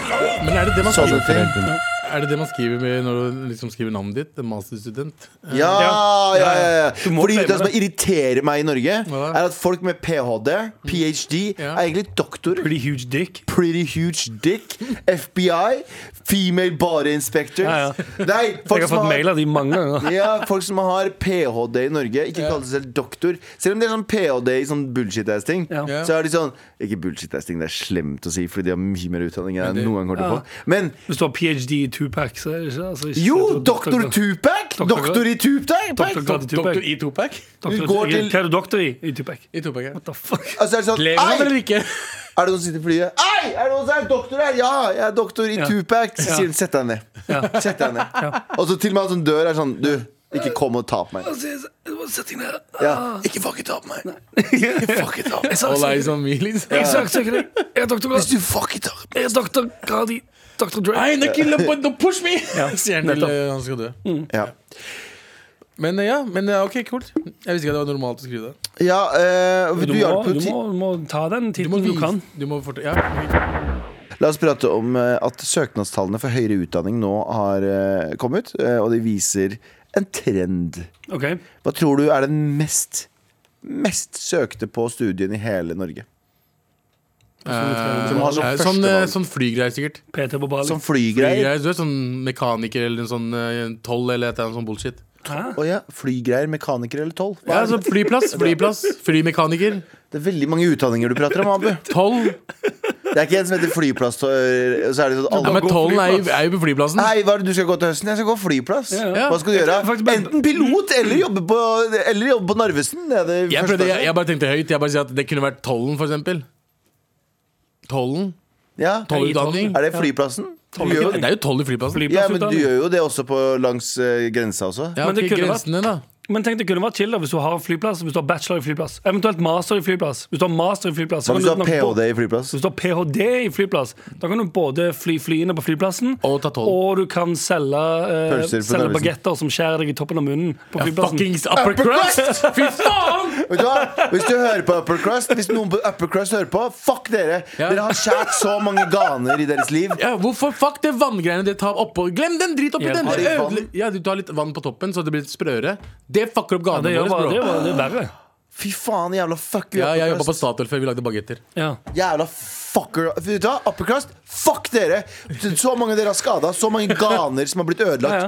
Men er det det man sånne skriver, Sånn ting. er det det man skriver med når du liksom skriver navnet ditt? En masterstudent? Ja, ja, ja, ja. Du må Fordi claime det som det. irriterer meg i Norge, Ja. er at folk med ph.d., Mm. ph.d., Ja. er egentlig doktorer. Pretty huge dick. Pretty huge dick, FBI, female body inspectors. Ja, ja. Nei, Jeg folk har fått som mail har av de mange ganger. ja, folk som har ph.d. i Norge, ikke kaller seg selv doktor. Selv om det er sånn ph.d. i sånn bullshit-ass-ting. Ja. Ja. Så er de sånn Ikke bullshit-ass-ting, det er slemt å si, fordi de har mye mer utdanning enn jeg det- noen gang kommer til Ja. å få. Men Hvis du har ph.d. i Tupac, så er det ikke altså, ikke- jo, doktor Tupac! Doktor- Doktor i Tupac! Doktor- Tupac. Doktor i Topac? Doktor- Vi går til- Hva er du doktor i? I Tupac? I Topac, ja. What the fuck? Altså, er det sånn, Lever han «Ei!» eller ikke? Er det noen som sitter i flyet? Ei, er det noen som er doktor her? Ja, jeg er doktor i Ja. Tupac. Så Ja. sier de sett deg ned. Sett deg ned. Og så til og med han som dør, er sånn Du, ikke kom og ta på meg. Sett deg ned. Ja. Ikke fuck it up, meg. Jeg Fuck it up. Jeg sa- All eyes on me, liksom. saksøker deg. Jeg er doktor Grad. Du fuck it up. Jeg er doktor Grad i Dr. Dre. Nei, don't kill him, but don't push me! Sier han til nettopp. eh, han skal dø. Ja, Men eh, ja, men eh, ok, kult. Jeg visste ikke at det var normalt å skrive det. ja eh, Du du må, hjalp jo du, ti- må, du må ta den tiden du vise- kan. Du må fortelle ja. La oss prate om eh, at søknadstallene for høyere utdanning nå har eh, kommet, eh, og de viser en trend. Ok, Hva tror du er den mest, mest søkte på studien i hele Norge? Som har som Eh, Sånn, eh, førstevalg. sånn flygreier, sikkert. PT på Bali. Sånn flygreier. Flygreier, du vet, Sånn mekaniker eller en sånn eh, toll eller et eller annet sånn bullshit. Hæ? Å ja, flygreier, mekaniker eller tolv? Hva Ja, er altså, så Flyplass, flyplass, flymekaniker, Det er veldig mange utdanninger du prater om, Abu. toll. Det er ikke en som heter flyplass, og så er det sånn Ja, alle men tollen er, jo- er jo på flyplassen. Hei, hva er det du skal gå til høsten? Jeg skal gå flyplass. Ja, ja. Hva skal du gjøre? Jeg tror faktisk bare- Enten pilot eller jobbe på, eller jobbe på Narvesen. Det er det Jeg, første. prøvde, jeg, jeg bare tenkte høyt. Jeg bare sier at Det kunne vært tollen, for eksempel. Tollen. ja. Tollutdanning. Er det flyplassen? Du gjør jo Det er jo toll i flyplassen. Ja, men du Flyplassutdanning. gjør jo det også på langs eh, grensa også. Ja, Men det ok, kunne grensene, da. Men tenk det kunne vært chill da hvis du har flyplass, hvis du har bachelor i flyplass. Eventuelt master i flyplass. Hvis du har master i flyplass så Hva kan hvis du har nok bo- ph.d. i flyplass? Hvis du har ph.d. i flyplass, da kan du både fly flyene på flyplassen, Og ta tolv. og du kan selge, eh, Pølser på selge Narvesen. bagetter som skjærer deg i toppen av munnen på flyplassen. Fuckings upper crust! Fy faen! Vet du hva? Hvis du hører på Upper Crust, hvis noen på Upper Crust hører på, fuck dere! Ja. Dere har skjært så mange ganer i deres liv. Ja, hvorfor Fuck det vanngreiene dere tar oppå. Glem den drit oppi Ja, den! har Det de vann? ødele- Ja, du tar litt vann på toppen, så det blir litt sprøere. Det fucker opp det ganene gjør bare, våre, det, bro. gjør bare, det er verre. Fy faen, jævla fuck you, Ja, jeg Upper jobba på Crust. Statoil før vi lagde bagetter. Ja. Jævla fucker. Vet du hva? Upper Crust, fuck dere! Så mange dere har skada, så mange ganer som har blitt ødelagt. Ja, ja.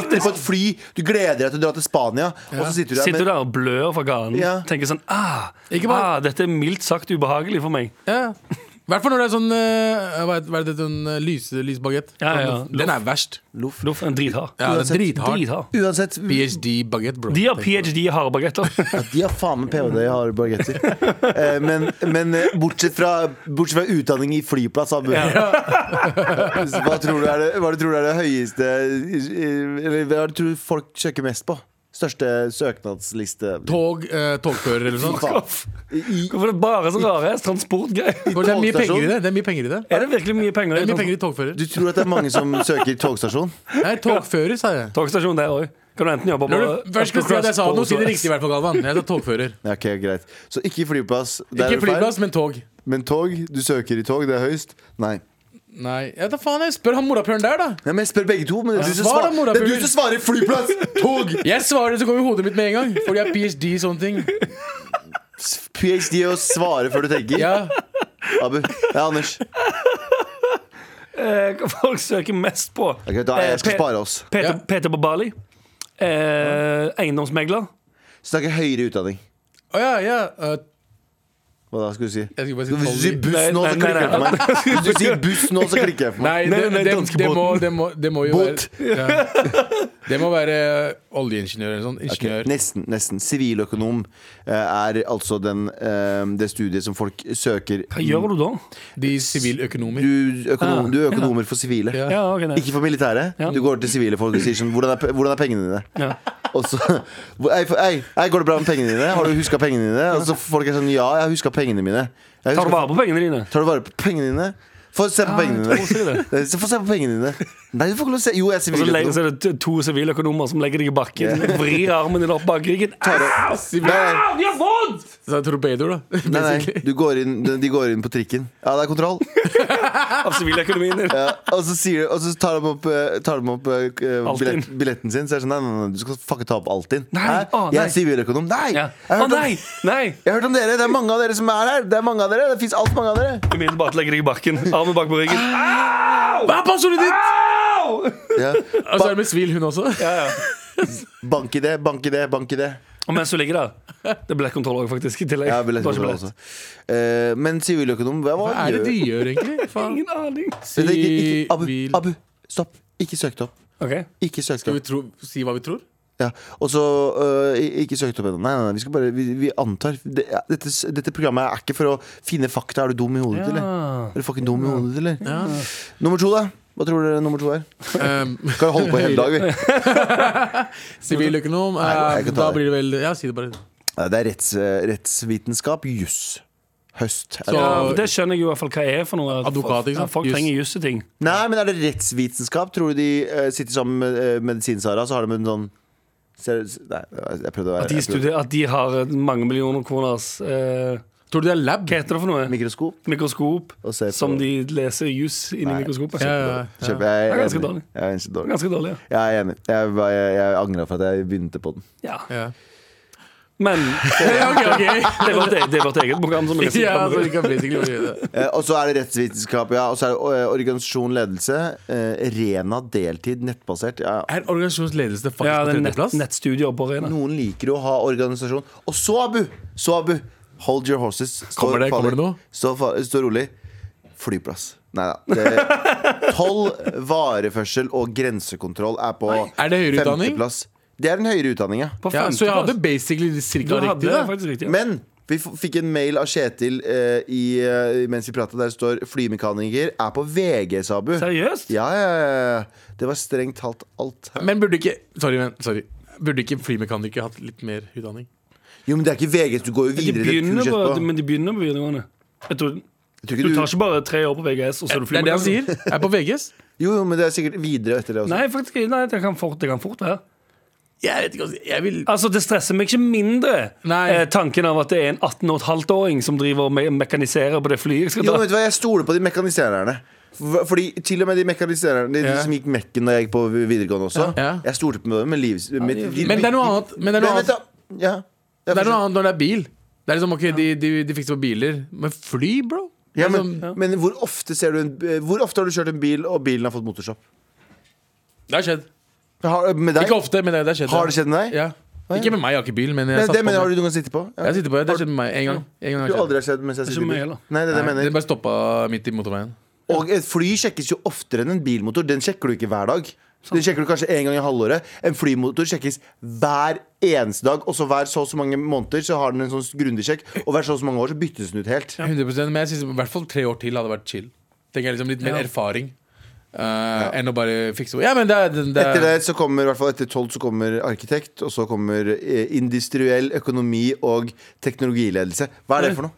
Sitter på et fly, du gleder deg til å dra til Spania, og så sitter du der Sitter du med der og blør fra ganen. Ja. Tenker sånn ah, Ikke bare- ah, Dette er mildt sagt ubehagelig for meg. Ja. I hvert fall når det er sånn eh, Hva heter- hva er det, sånn eh, lys, lysbagett. Ja, ja, Den er verst. Loff. Loff en drithard. Ja, den er drithard. Drithard. Uansett, PhD-bagett, bro. De har Tenk på det. ph.d. i harde bagetter. Ja, De har faen meg ph.d. i harde bagetter. Eh, Men, men eh, bortsett, fra, bortsett fra utdanning i flyplass, Abu. Hva tror du er det, hva du tror er det høyeste Eller hva du tror folk søker mest på? Største søknadsliste? Tog, eh, togfører eller noe sånt. Faen. I, Hvorfor er det bare sånn rare transportgreier? Det er mye penger i det. Det er mye penger i det Er det virkelig mye penger? Det er i mye transport- penger i togfører. du tror at det er mange som søker togstasjon? Nei, togfører, sa jeg. Togstasjon der òg. Kan du enten jobbe på Når du først skal si at jeg sa noe, si det riktig i hvert fall, Galvan. Jeg sa togfører. Ja, ok, greit Så ikke flyplass, der er Ikke du feil. flyplass, men tog. Men tog? Du søker i tog, det er høyst? Nei. Nei, jeg vet da faen. Jeg spør han morapuleren der, da. Nei men jeg spør begge to. Men det, er du som Svar da, svar- morapuler. det er du som svarer flyplass! Tog! Jeg svarer, så går jo hodet mitt med en gang. Fordi jeg har ph.d. i sånne ting. PhD og svare før du tenker. Ja, Abu. Ja, Anders. Eh, hva folk søker mest på. Ok, da Eh, jeg skal P- spare oss. PT, Ja. PT på Bali. Eh, eiendomsmegler. Snakke høyere utdanning. Å ja, ja. Eh, Hva da skulle du si? Jeg skulle bare si Hvis du sier tolv. buss nå, så Nei, nei, klikker jeg for meg. Hvis du sier buss nå, så klikker jeg for meg. Nei, Nei, det, nei, det, det, danskebåten. må, det, må, det må jo Båt. være ja. Det må være oljeingeniør eller sånn. Ok, Ingeniør. Nesten. nesten Siviløkonom eh, er altså den, eh, det studiet som folk søker Hva gjør du da? De siviløkonomer. Du, økonom, du er økonomer for sivile. Ah, Ja. Ja, ok, nei. Ikke for militære. Ja. Du går til sivile folk og sier sånn Hvordan er, pe- hvordan er pengene dine? Ja. Og så ei, for- ei, ei, går det bra med pengene dine? Har du huska pengene dine? Og så folk er sånn Ja, jeg har huska pengene mine. Jeg Tar du husker- vare på pengene dine? Tar du vare på pengene dine? Få se på Ja, pengene jeg tror også dine. Få se på pengene dine. Nei, du får ikke lov å se. Jo, jeg er Og så legger- siviløkonom. så er det t- to siviløkonomer som legger deg i bakken. Vrir armen din opp bak ryggen. Au! Nei, nei, Au, de har vondt! Så det er torpedoer, da. nei, nei. Du går inn, de går inn på trikken. Ja, det er kontroll. Av siviløkonomien din. Ja, og, så sier, og så tar de opp, eh, tar de opp eh, billett, Altinn. billetten sin. Så er det sånn Nei, nei, nei, du skal fucke ta opp Altinn. Nei, Hæ? å, Jeg nei. er siviløkonom. Nei! Ja. Jeg Å har hørt om- nei! Nei! jeg har hørt om dere. Det er mange av dere som er her. Det er mange av dere. Det fins altfor mange av dere. Umiddelbart legger deg i bakken. Armen bak på ryggen. Hva er passordet ditt?! Ah! Au! Ja. Og så er det med svil, hun også. Bank i det, bank i det, bank i det. Og mens du ligger der Det er billettkontroll òg, faktisk. I tillegg. Jeg har Du har ikke billettkontroll billett. også. Eh, men siviløkonom, hva Hva er det gjør- de gjør, egentlig? Faen. Ingen aning. Vent, ikke, ikke, Abu, Sivil- Abu, stopp. Ikke søk det opp. Ok Ikke søk det Skal vi opp. tro, si hva vi tror? Ja. Og så øh, i- ikke søkt opp ennå. Nei, nei, nei, vi skal bare Vi, vi antar. Det, ja, dette, s- dette programmet er ikke for å finne fakta. Er du dum i hodet, eller? Er du fucking dum i hodet, eller? Nummer to, da. Hva tror dere nummer to er? Um, Vi kan holde på hele dag, vi. Siviløkonom. Nei, jeg eh, kan ta Da det. blir det vel Ja, si det bare. Nei, Det er retts, eh, rettsvitenskap. Juss. Høst. Er det. Ja, Så- det skjønner jeg jo i hvert fall hva er for noe. at Advokat, ikke sant? folk- Ja, folk Jus. trenger juss til ting. Nei, men er det rettsvitenskap? Tror du de eh, sitter sammen med eh, medisin-Sara, så har de en sånn ser, Nei, jeg prøvde å være At de, jeg prøvde- studerer, at de har et mange millioner kroners eh, Tror du det er lab? Hva heter det for noe? Mikroskop. Mikroskop. Og se på- Som de leser juss inni Nei. mikroskopet. Ja, ja, ja. Kjøper jeg. Det er ganske enig. dårlig. Jeg er ganske dårlig. Ganske dårlig, ja. Jeg er enig. Jeg, var- jeg, jeg angrer for at jeg begynte på den. ja. ja. Men Ja, ok, ok. det er vårt, e- det er vårt eget program som vi leser. Ja, altså, så fremover. vi kan basically bare gjøre det. Eh, og så er det rettsvitenskap, ja. Og så er det eh, organisasjon, ledelse. Eh, Rena, deltid, nettbasert. Ja. Er organisasjonsledelse faktisk Ja, på det er nett, tredjeplass? nettstudier på arena. Noen liker jo å ha organisasjon. Og så, Abu! Så, Abu! Hold your horses. Stå, Kommer det- kommer det noe? Stå, fa- stå rolig. Flyplass. Nei da. Toll, vareførsel og grensekontroll er på Er det høyere utdanning? femteplass. Det er den høyere utdanninga. På Ja, så jeg hadde femteplass. basically Du cirka hadde riktig, da. faktisk riktig. Ja. Men vi f fikk en mail av Kjetil eh, i, eh, mens vi prata. Der det står 'flymekaniker er på VG', sa Abu. Seriøst? Ja, ja, ja, ja. Det var strengt talt alt. Men burde ikke Sorry, men sorry. Burde ikke flymekanikere hatt litt mer utdanning? Jo, men det er ikke VG, så du går jo De videre til et begynner kurs på, etterpå. men de begynner på videregående. Jeg tror, Jeg tror du ikke tar ikke bare tre år på VGS, og så er du Det er det han flymekaniker. sier. Er på VGS? Jo, jo, men det er sikkert videre etter det også. Nei, faktisk, ikke. nei det, kan fort, det kan fort være. Jeg vet ikke, altså. Jeg vil Altså, Det stresser meg ikke mindre Nei. eh, tanken av at det er en 18,5-åring som driver og me mekaniserer på det flyet jeg skal Jo, men ta. vet du hva, jeg stoler på de mekanisererne. For- Fordi til og med de mekanisererne De, Ja. de som gikk Mekken da jeg gikk på videregående også. Ja. Jeg stolte på dem med livs... Med, Men det er noe annet. Men det er noe Men vent annet, da. Ja. Ja, det er noe fortsett. annet når det er bil. Det er liksom, ok, de, de, de fikser på biler. Men fly, bro? Ja, men, Liksom, men hvor ofte ser du en, eh, Hvor ofte har du kjørt en bil, og bilen har fått motorstopp? Altså, det har skjedd. Har, med deg? Ikke ofte, men det, det har skjedd. Har det skjedd med deg? Ja. Ikke med meg, jeg har ikke bil, men jeg Nei, satt det på mener jeg har meg. du noen gang sittet på? Ja. Jeg sitter på det. Det har skjedd med meg en gang. En gang har Du det skjedd. aldri har sett mens jeg Ikke sitter i meg bil? heller. Nei, det er det jeg Nei, Det mener. bare stoppa midt i motorveien. Og et fly sjekkes jo oftere enn en bilmotor. Den sjekker du ikke hver dag. Den sjekker du kanskje en gang i halvåret. En flymotor sjekkes hver eneste dag. Og så hver så og så mange måneder så har den en sånn grundig sjekk. Og hver så og så mange år så byttes den ut helt. 100 Men jeg synes i hvert fall tre år til hadde vært chill. Tenker jeg liksom Litt mer Ja. erfaring eh, enn å bare fikse Ja, men det er det, det, Etter det så kommer i hvert fall etter 12 så kommer arkitekt, og så kommer eh, industriell økonomi og teknologiledelse. Hva er det for noe?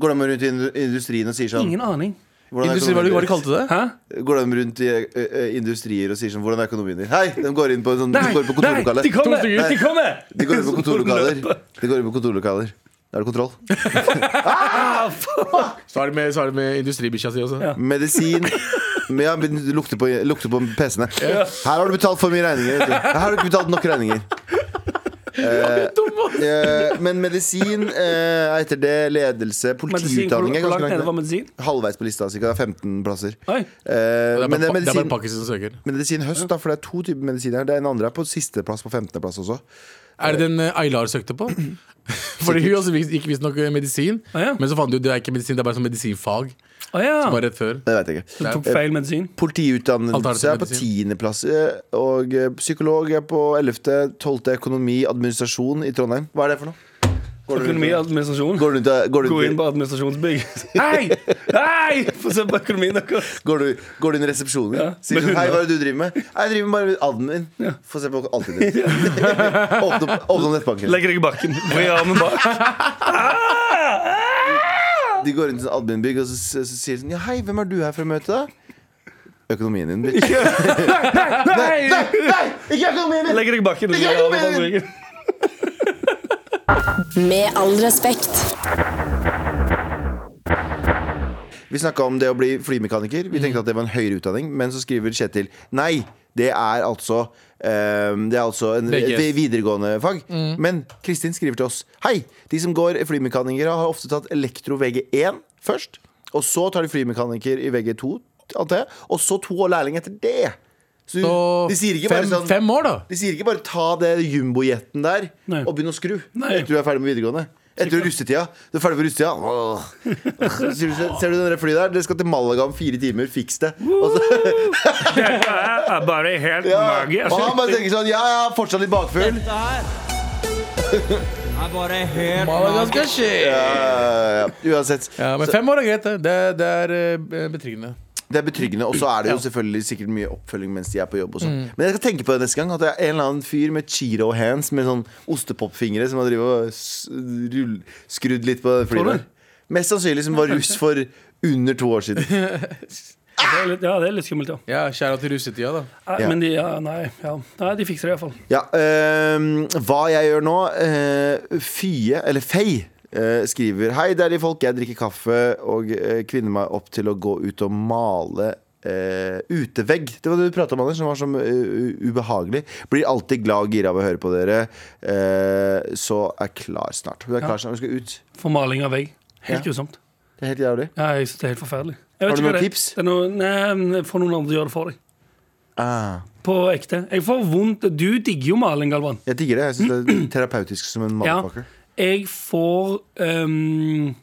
Går de rundt i indu- industrien og sier sånn Ingen aning. hvordan er Industri, hva var det økonomien hva de kalte det? Hæ? din? Går de rundt i ø, ø, industrier og sier sånn Hvordan er økonomien din? Hei! De går inn på, en sånn, de går på nei, kontorlokalet. de kommer! Nei. De kommer! De går inn på kontorlokaler. Løper. De går inn på kontorlokaler. Da er det kontroll. Så er det med, så er det med industribikkja si også. Ja. Medisin. Men Ja, men det lukter på, lukter på PC-ene. Her har du betalt for mye regninger. vet du. Her har du ikke betalt nok regninger. Eh, eh, men medisin eh, er etter det ledelse, Medisin, hvor, politiutdanning er hvor ganske langt nede var langt ned. medisin? Halvveis på lista, cirka. Det er 15 plasser. Oi. Eh, Det er men det er bare, pa- det er bare medisin, pakkiser som søker. medisin høst, da, for det er to typer medisiner. Det ene andre er på sisteplass på 15. plass også. Er det den eh, Aylar søkte på? Fordi hun også vis- gikk visstnok eh, medisin, Ah, ja. men så fant du ut det er ikke medisin, det er bare sånn medisinfag. Å ja. Bare rett før. Det vet jeg ikke. Du tok feil medisin. Politiutdannelse er på Alternativ tiendeplass. eh, Og eh, psykolog er på ellevte. Tolvte økonomi, administrasjon i Trondheim. Hva er det for noe? Går du Økonomi rundt- og administrasjon. Går du rundt og- går du Gå inn rundt- på administrasjonsbygg. Hei! Hei! Få se på økonomien deres. går du- går du inn i resepsjonen? Ja, Sier med du, hei, hundene. hva er det du driver med? Nei, Jeg driver bare med admin. Få se på alltid ditt. åpne, opp- åpne opp nettbanken. Legg deg i bakken. Vri armen bak. De går inn til sånn adminbygg og så, så, så sier de sånn Ja, hei, hvem er du her for å møte, da? Økonomien din, bitch. Nei! Nei, ikke økonomien min! Legg deg i bakken. Legg deg i bakken. Med all respekt. Vi snakka om det å bli flymekaniker. Vi Mm. tenkte at det var en høyere utdanning, men så skriver Kjetil nei. Det er altså eh, Det er altså en VGS. vi- videregående fag. Mm. Men Kristin skriver til oss. Hei! De som går flymekanikere, har ofte tatt elektro VG1 først. Og så tar de flymekaniker i VG2, antar jeg. Og så to år lærling etter det. Så, Så de sier ikke fem, bare sånn fem år, da. De sier ikke bare ta det jumbojeten der Nei. og begynne å skru Nei. etter du er ferdig med videregående. Etter russetida. Du er ferdig for russetida. Åh. Ser du, ser du det flyet der? Dere skal til Malaga om fire timer. Fiks det. Og så, Dette er bare helt ja. magisk. Og han bare tenker sånn Ja, jeg er fortsatt litt bakfull. Dette her er bare helt Malaga magisk. skal skje! Ja, ja, ja. Uansett. Ja, men fem år er greit, det. Det, det er eh, betryggende. Det er betryggende, og så er det jo selvfølgelig sikkert mye oppfølging mens de er på jobb. og sånn Mm. Men jeg skal tenke på det neste gang. At det er en eller annen fyr med Chiro hands med sånn ostepopfingre som har drevet og s- rull- skrudd litt på det flyet Tror du? der. Mest sannsynlig som var russ for under to år siden. Det er litt, ja, det er litt skummelt, ja. Ja, Skjæra til russetida, da. Nei, Ja. Men de, ja, nei, ja. nei, de fikser det iallfall. Ja, øhm, hva jeg gjør nå øh, Fye, eller Fei øh, skriver Hei deilige folk, jeg drikker kaffe Og øh, kvinner meg opp til å gå ut og male øh, utevegg Det var det du pratet om, Anders, som var så øh, ubehagelig Blir alltid glad og gira av å høre på dere Eh, Så er klar snart Hun er klar snart, hun skal ut For maling av vegg. Helt Ja. grusomt. Det er helt jævlig Ja, jeg synes det er helt forferdelig. Har Jeg vet du ikke hva noen det er. tips? Det er noe, nei, Få noen andre til å gjøre det for deg. ah, På ekte. Jeg får vondt Du digger jo maling, Galvan. Jeg digger det, jeg synes det er terapeutisk som en Ja. motherfucker Jeg får ehm,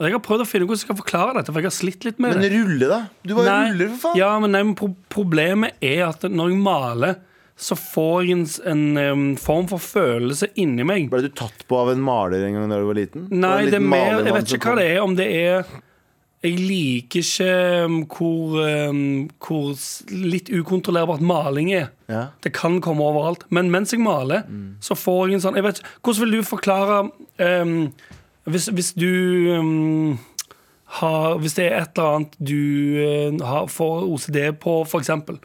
Jeg har prøvd å finne ut hvordan jeg skal forklare dette, for jeg har slitt litt med Men det. rulle da, du bare Nei, ruller for faen Ja, men nei, men pro problemet er at når jeg maler, så får jeg en, s- en ehm, form for følelse inni meg. Ble du tatt på av en maler en gang da du var liten? Nei, det er mer, jeg vet ikke hva det er. Om det er Jeg liker ikke um, hvor, um, hvor s- litt ukontrollerbart maling er. Ja. Det kan komme overalt. Men mens jeg maler, så får jeg en sånn jeg vet, ikke- Hvordan vil du forklare um, hvis, hvis du um, har, Hvis det er et eller annet du uh, har, får OCD på, f.eks.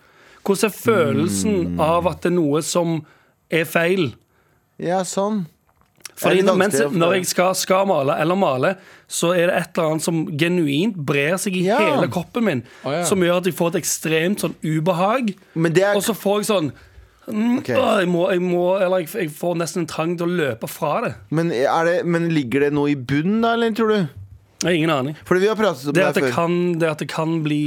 Hvordan er følelsen av at det er noe som er feil? Ja, sånn. Fordi Jeg er litt mens, angstelig for når det. jeg skal, skal male eller male, så er det et eller annet som genuint brer seg i Ja. hele kroppen min. Å, ja. Som gjør at jeg får et ekstremt sånn ubehag. Men det er- Og så får jeg sånn mm, Ok. åh, jeg, må, jeg, må, eller jeg, jeg får nesten en trang til å løpe fra det. Men, er det, men ligger det noe i bunnen, da, eller tror du? Jeg har ingen aning. Fordi vi har pratet om Det det, at det her før. kan, det at det kan bli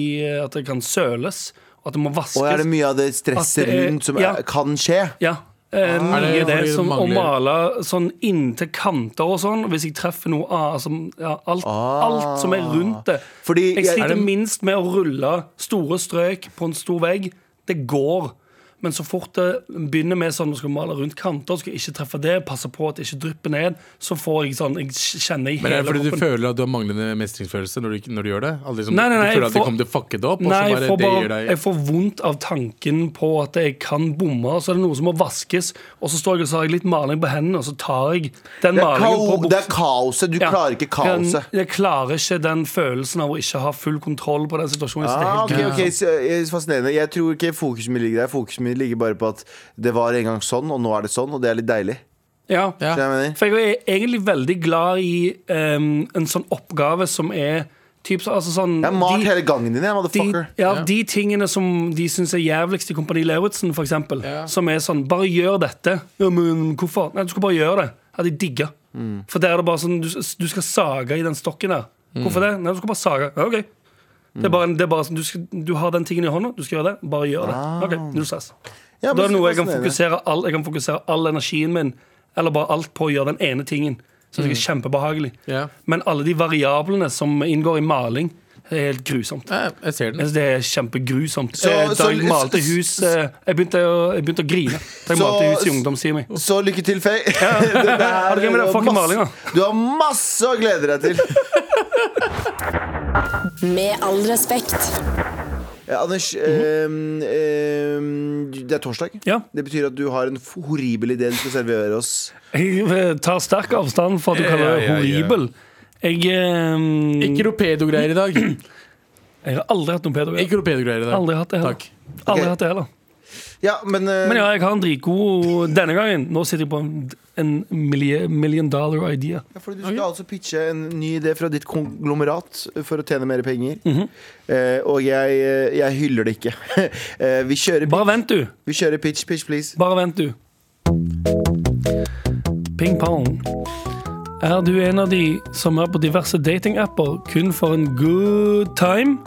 At det kan søles, og at det må vaskes. Og er det mye av det stresset At det er- rundt som ja. er, kan skje? Ja. Eh, Ah. Er det mye det, fordi det som å mangler- male sånn inntil kanter og sånn. Hvis jeg treffer noe ah, altså, ja, alt, alt som er rundt det. Ah. Fordi jeg jeg- sliter er det- minst med å rulle store strøk på en stor vegg. Det går. Men så fort det begynner med sånn, nå skal jeg male rundt kanter, skal jeg ikke treffe det, passe på at det ikke drypper ned, så får jeg sånn Jeg kjenner i hele Men er det fordi du kroppen. føler at du har manglende mestringsfølelse når du, ikke- når du gjør det? At liksom, Nei, nei, nei, du føler jeg at det får- kommer til å fucke det opp? og så Nei, jeg bare, får, det gir bare, deg- jeg får vondt av tanken på at jeg kan bomme, og så er det noe som må vaskes, og så står jeg og så har jeg litt maling på hendene, og så tar jeg den Det er, malingen på kao, det er buksen. kaoset. Du Ja. klarer ikke kaoset. Jeg, jeg klarer ikke den følelsen av å ikke ha full kontroll på den situasjonen. så det er Ah, helt ok, ok, så- eh, Fascinerende. Jeg tror ikke fokuset mitt ligger der. Fokuset mitt ligger bare på at det var en gang sånn, og nå er det sånn, og det er litt deilig. Ja. Skjønner Ja. du hva jeg mener? For jeg er e- egentlig veldig glad i em, en sånn oppgave som er typ, så- altså sånn Jeg har malt de- hele gangen din, jeg, de, motherfucker. ja, de tingene som de syns er jævligst i Kompani Lauritzen, for eksempel. Ja. Som er sånn Bare gjør dette. Ja, men hvorfor? Nei, du skal bare gjøre det. Hadde jeg digga. For der er det bare sånn du, du skal sage i den stokken der. Hvorfor det? Nei, du skal bare sage. Ja, OK. Det er bare, en- det er bare sånn, du, skal, du har den tingen i hånda, du skal gjøre det. Bare gjør det. Ok, Null stress. Ja, men da er det noe så jeg kan, fascinerende. fokusere all, jeg kan fokusere all energien min Eller bare alt på å gjøre den ene tingen Som er kjempebehagelig Ja. Men alle de variablene som inngår i maling Er helt grusomt Nei, jeg ser den. Jeg synes det er kjempegrusomt Så- Eh, Da så- jeg malte så- hus eh, jeg, begynte å, jeg begynte å grine Da jeg Så- malte hus i ungdomstiden min. Så lykke til, Faye. Det der- Har du glemt det? Fucking maling, da. du har masse å glede deg til. Med all respekt. Ja, Anders, ehm, ehm, det er torsdag. Mhm. Ja. Det betyr at du har en f- horribel idé du skal servere oss. Jeg eh, tar sterk avstand for at du kaller det Ja, ja, ja. horribel Jeg, eh, Ikke noe pedo-greier i dag. jeg har aldri hatt noe pedo Ikke noe pedo-greier i dag. Aldri hatt det heller Takk. Aldri Ok. hatt det heller Ja, men, eh, Men ja, jeg har en dritgod denne gangen. Nå sitter jeg på en, en milie- million dollar idea. ja, fordi Du skal altså pitche en ny idé fra ditt konglomerat for å tjene mer penger. Mhm. Eh, og jeg, eh, jeg hyller det ikke. Eh, vi, kjører, Bare vent, du. vi kjører pitch, pitch, please. Bare vent, du. Ping pong. Er du en av de som er på diverse datingapper kun for en good time?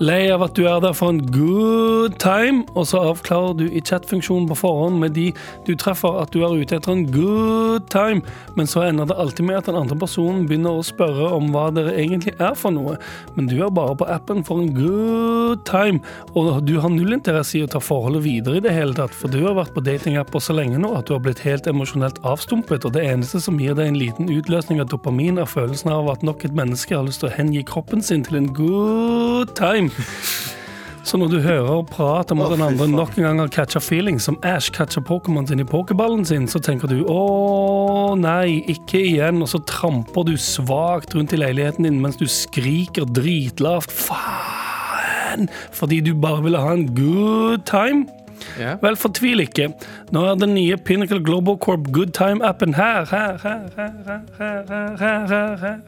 Lei av at du er der for en good time, og så avklarer du i chatfunksjonen på forhånd med de du treffer at du er ute etter en good time, men så ender det alltid med at den andre personen begynner å spørre om hva dere egentlig er for noe, men du er bare på appen for en good time, og du har null interesse i å ta forholdet videre i det hele tatt, for du har vært på datingapper så lenge nå at du har blitt helt emosjonelt avstumpet, og det eneste som gir deg en liten utløsning av dopamin, er følelsen av at nok et menneske har lyst til å hengi kroppen sin til en good time. Så når du hører prat om at den andre nok en gang har catcha feeling, som Ash catcha Pokémon sin i pokerballen sin, så tenker du å nei, ikke igjen, og så tramper du svakt rundt i leiligheten din mens du skriker dritlavt faen, fordi du bare ville ha en good time. Ja. Vel, fortvil ikke. Nå er den nye Pinnacle Global Corp Good Time-appen her. her, her, her, her, her, her, her, her, her,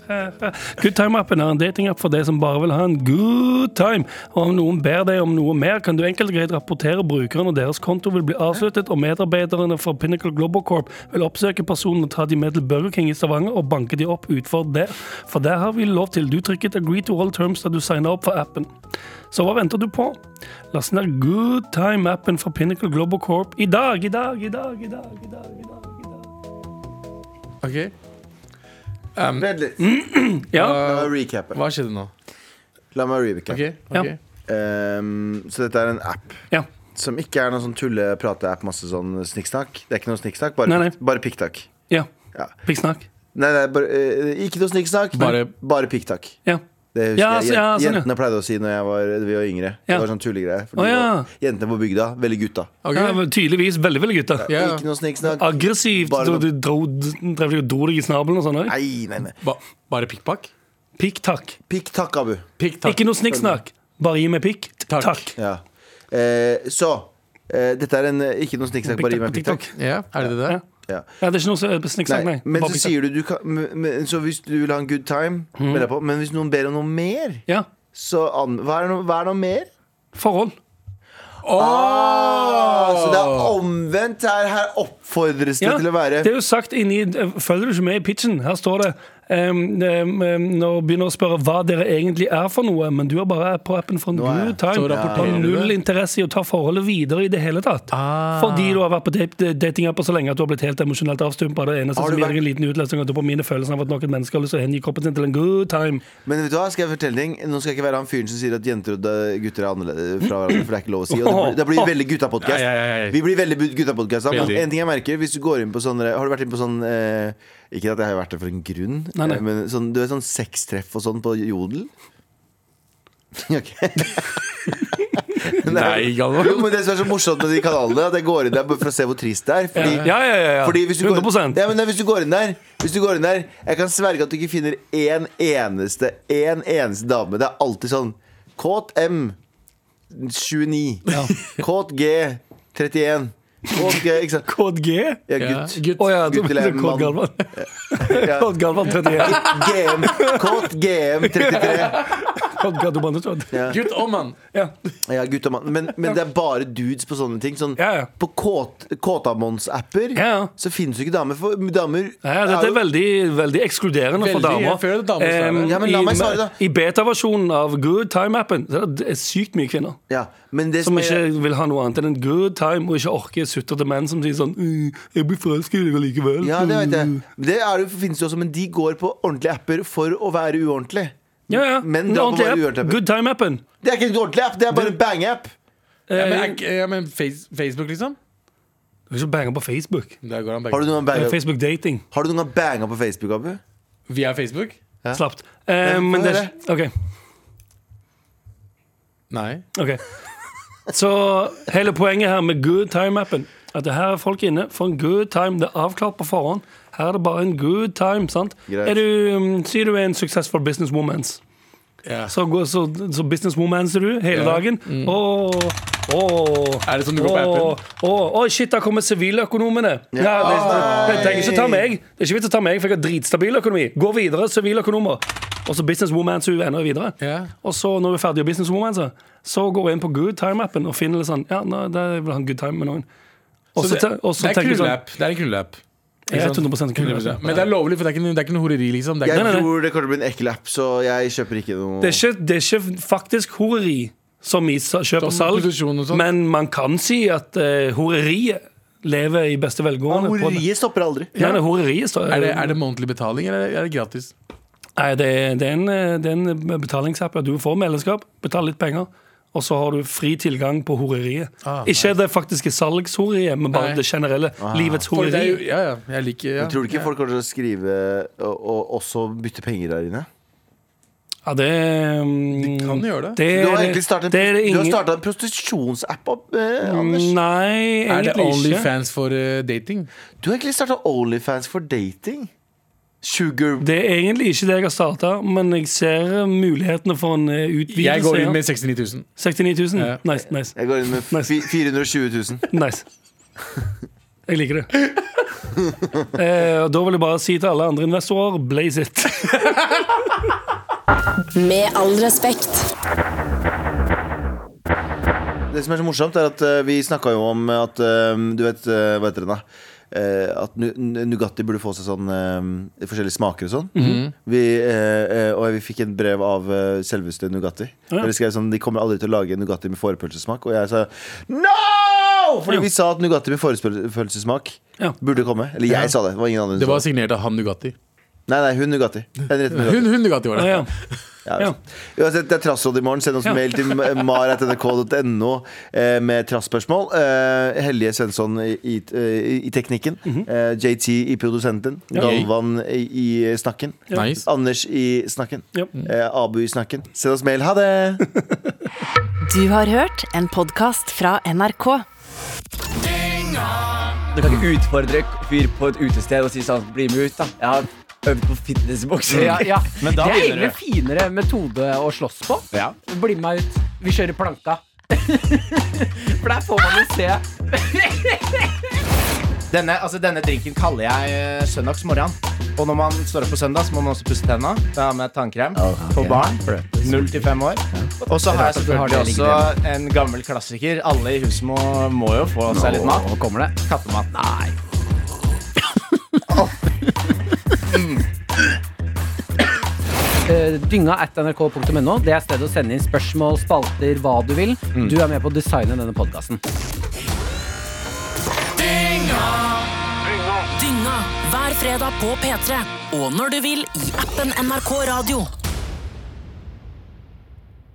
her. Good Time-appen er en datingapp for deg som bare vil ha en good time. Og om noen ber deg om noe mer, kan du enkelt og greit rapportere brukeren, og deres konto vil bli avsluttet, og medarbeiderne fra Pinnacle Global Corp vil oppsøke personen og ta de med til Burger King i Stavanger og banke de opp utfor der. For der har vi lov til. Du trykket 'agree to all terms' da du signa opp for appen. Så hva venter du på? Last ned Good Time-appen fra Pinnacle Global Corp i dag, i dag, i dag, i dag, i dag, i dag. i dag. Ok, Um, Vent litt. Mm. Ja, La meg recappe. Hva skjedde nå? La meg recappe. Ok, ok. Ehm, så dette er en app ja. som ikke er noen sånn tulle-prate-app. Masse sånn snikksnakk. Det er ikke noe snikksnakk, bare, Nei, nei. pikk- bare pikktakk. ja. Ja. Pikksnakk. Nei, nei, bare, eh, ikke noe snikksnakk, bare, Bare- bare pikktakk. Ja. Det husker Ja, jeg. så- ja, sånn, ja. Jentene pleide å si når jeg var, vi var yngre. Det Ja. var sånn tullegreier. for Å, de ja. var- Jentene på bygda. Veldig gutta. Ok. Ja, men tydeligvis veldig, veldig gutta. Ja, ja. Ikke noe snikksnakk. Aggressivt. Bare Du, noe- du dro, drev deg og dro deg i snabelen og sånn òg. Nei, nei, nei. Ba bare pikkpakk? Pikk-takk. Pikktakk, Abu. Pikktakk. Ikke noe snikksnakk. Bare gi meg pikk. Takk. Takk. Ja. Eh, så eh, Dette er en eh, ikke noe snikksnakk, bare gi meg TikTok. pikktakk. Ja, er det det der? Ja. Ja. ja, det er ikke noe som- snikksnakk, nei. Nei, men Bare så pikk-takk. sier du, du kan, men, men- Så hvis du vil ha en good time, Mm. melder jeg på. men hvis noen ber om noe mer, Ja. så an, hva, er noe, hva er noe mer? Forhold. Ah, så det er omvendt her. Her oppfordres det Ja, til å være Det er jo sagt inni eh, Følger du ikke med i pitchen? Her står det ehm, ehm, ehm, Når du begynner å spørre hva dere egentlig er for noe, men du er bare på appen for en Nå er jeg- good time. Så rapporterer Har du det? null interesse i å ta forholdet videre i det hele tatt. Ah. Fordi du har vært på date- datingapper så lenge at du har blitt helt emosjonelt avstumpa. Det eneste Har du som gir vært- deg en liten utløsning av dopamine, følelsen av at noen mennesker har lyst til å hengi kroppen sin til en good time. Men vet du hva, skal jeg fortelle ting? Nå skal jeg ikke være han fyren som sier at jenter og da- gutter er annerledes fra hverandre, for det er ikke lov å si. Og det blir, det blir veldig Nei, nei, nei. guttapodkast. Vi blir veldig bu- guttapodkast. da. Men Veldig. en ting jeg merker, hvis du går inn på sånne Har du vært inn på sånn eh, Ikke at jeg har vært der for en grunn, Nei, nei. eh, men sånn, du vet sånn sextreff og sånn på Jodel? Ok. Nei, Jo, Galvan. men det som er så morsomt med de kanalene, er at jeg går inn der bare for å se hvor trist det er. Fordi Ja, ja, ja, ja. fordi hvis du, går, 100 ja, men nei, hvis du går inn der Hvis du går inn der Jeg kan sverge at du ikke finner en eneste En eneste dame Det er alltid sånn Kåt M 29 Kåt G 31 Kåt G Ikke sant? Kod G? Ja, Ja, gutt gutt. Å ja, du Gutt eller mener mann. Kod Galvan. Ja. Kod Galvan 31. GM Kåt GM 33 Kod Galvan 31. Gutt og mann. Ja. Ja, gutt og mann Men, men det er bare dudes på sånne ting sånn, Ja, ja. På kåt, Kåtamons-apper Ja, ja. Så finnes jo ikke damer For damer Ja, dette jo- er veldig, veldig ekskluderende for Veldig, damer. jeg føler det damer som er Em, det. Ja, men la i- meg svare da. I beta-versjonen av Good Time-appen så er det sykt mye kvinner ja, men det som som er- ikke vil ha noe annet enn en good time, og ikke orker sutrete menn som sier sånn «Øh, 'Jeg blir forelsket i deg likevel'. Ja, det vet jeg. Det er, jo- finnes jo også, men de går på ordentlige apper for å være uordentlig. Ja, ja. Men En da må ordentlig være app. uordentlig. Good Time-appen. Det er ikke en ordentlig app, det er bare en bang-app. Ja, men, er ikke- ja, men face, Facebook, liksom? Du kan Eh, ikke bange på Facebook. Der går han Har du begge. noen gang Eh, banga, Facebook dating. har du noen gang banga på Facebook, Abu? Vi er Facebook? Slapt. Eh, men det er OK. Nei. Ok Så hele poenget her med good time-appen At det her er folk inne for en good time Det er avklart på forhånd Her er det bare en good time, sant? Greit. Er du, um, sier du er en successful businesswoman Ja. Så, går- så, så businesswoman ser du hele Ja. Mm. dagen Åh Åh Er det sånn du går på åh, appen? åh, Åh, shit, der kommer siviløkonomene ja, det, det, det trenger ikke ta meg Det er ikke vits å ta meg, for jeg har dritstabil økonomi Gå videre, siviløkonomer Og så businesswoman, så ender videre Ja. og så når du er ferdig å businesswoman, så, så går jeg inn på good time-appen og finner litt sånn Ja, nå, der vil jeg ha en good time med noen. Og Så så det, te- og så det er tenker jeg sånn krulleapp. Det er en krulleapp. Jeg er sant? 100 kul. Men det er lovlig, for det er ikke, det er ikke noe horeri, liksom. Det er Jeg ikke, nei, nei. tror det kommer til å bli en ekkel app, så jeg kjøper ikke noe Det er ikke, det er ikke faktisk horeri som i sa- kjøp og Som salg, prostitusjon og sånt. men man kan si at eh, horeriet lever i beste velgående. på det. Horeriet stopper aldri. Nei, nei, horeriet står er, det, er det månedlig betaling, eller er det gratis? Nei, det er, det, er en, eh, det er en betalingsapp. ja. Du får medlemskap, betaler litt penger, og så har du fri tilgang på horeriet. Ah, ikke det faktiske salgshoreriet, men bare Nei. det generelle Ah. livets For det er jo, horeri. ja, ja, jeg liker ja. Men tror du ikke folk kommer til å skrive og, og også bytte penger der inne? Ja, det mm, De kan gjøre det. det, Du har er- egentlig startet, det er du det har ingen- Mm, startet en prostitusjonsapp, eh, Anders. Nei, Er det egentlig ikke. Onlyfans for eh, dating? Du har egentlig starta Onlyfans for dating. Sugar Det er egentlig ikke det jeg har starta, men jeg ser mulighetene for en eh, utvidelse. Jeg går ja. inn med 69 000. 69 000? Ja. Nice, nice, Jeg går inn med fi- 420 000. nice. Jeg liker det. Eh, og da vil jeg bare si til alle andre investorer blaze it. Med all respekt. Det som er så morsomt, er at eh, vi snakka jo om at eh, Du vet, eh, hva heter den da? Eh, at nu- n- Nugatti burde få seg sånn eh, forskjellige smaker og sånn. Mhm. vi, eh, eh, og vi fikk en brev av eh, selveste Nugatti. Ja. Der de skrev sånn De kommer aldri til å lage Nugatti med forepølsesmak. Og jeg sa no! Fordi Ja. vi sa at Nugatti med forepølsesmak Ja. burde komme. Eller jeg sa det. Det var ingen andre Det som var sa det. signert av han Nugatti. Nei, nei, hun Nugatti. Henriette Nugatti. Hun, hun Nugatti var Ah, det. ja. Ja, Ja. Uansett, det er trassråd i morgen. Send oss Ja. mail til mar.nrk.no eh, med trasspørsmål. Eh, Hellige Svensson i, i, i teknikken. Mhm. eh, JT i produsenten. Galvan i, i snakken. Ja. Nice. Anders i snakken. Ja. Eh, Abu i snakken. Send oss mail. Ha det! Du har hørt en podkast fra NRK. Du kan ikke utfordre en fyr på et utested og si sånn Bli med ut, da. Jeg har øvd på fitnessbokser. Ja, ja. Men da Det er begynner egentlig du. finere metode å slåss på. Ja. Bli med meg ut. Vi kjører planka. For der får man jo se. Denne, altså, denne drinken kaller jeg eh, søndagsmorgen. Og når man står opp på søndag, så må man også pusse tenna. Da har jeg med tannkrem på barn. Null til fem år. Og så har jeg selvfølgelig også en gammel klassiker. Alle i huset må, må jo få seg litt mat. Nå kommer det. Kattemat. Nei. Eh, Dynga at nrk.no. Det er stedet å sende inn spørsmål, spalter, hva du vil. Mm. Du er med på å designe denne podkasten. Dynga hver fredag på P3. Og når du vil i appen NRK Radio.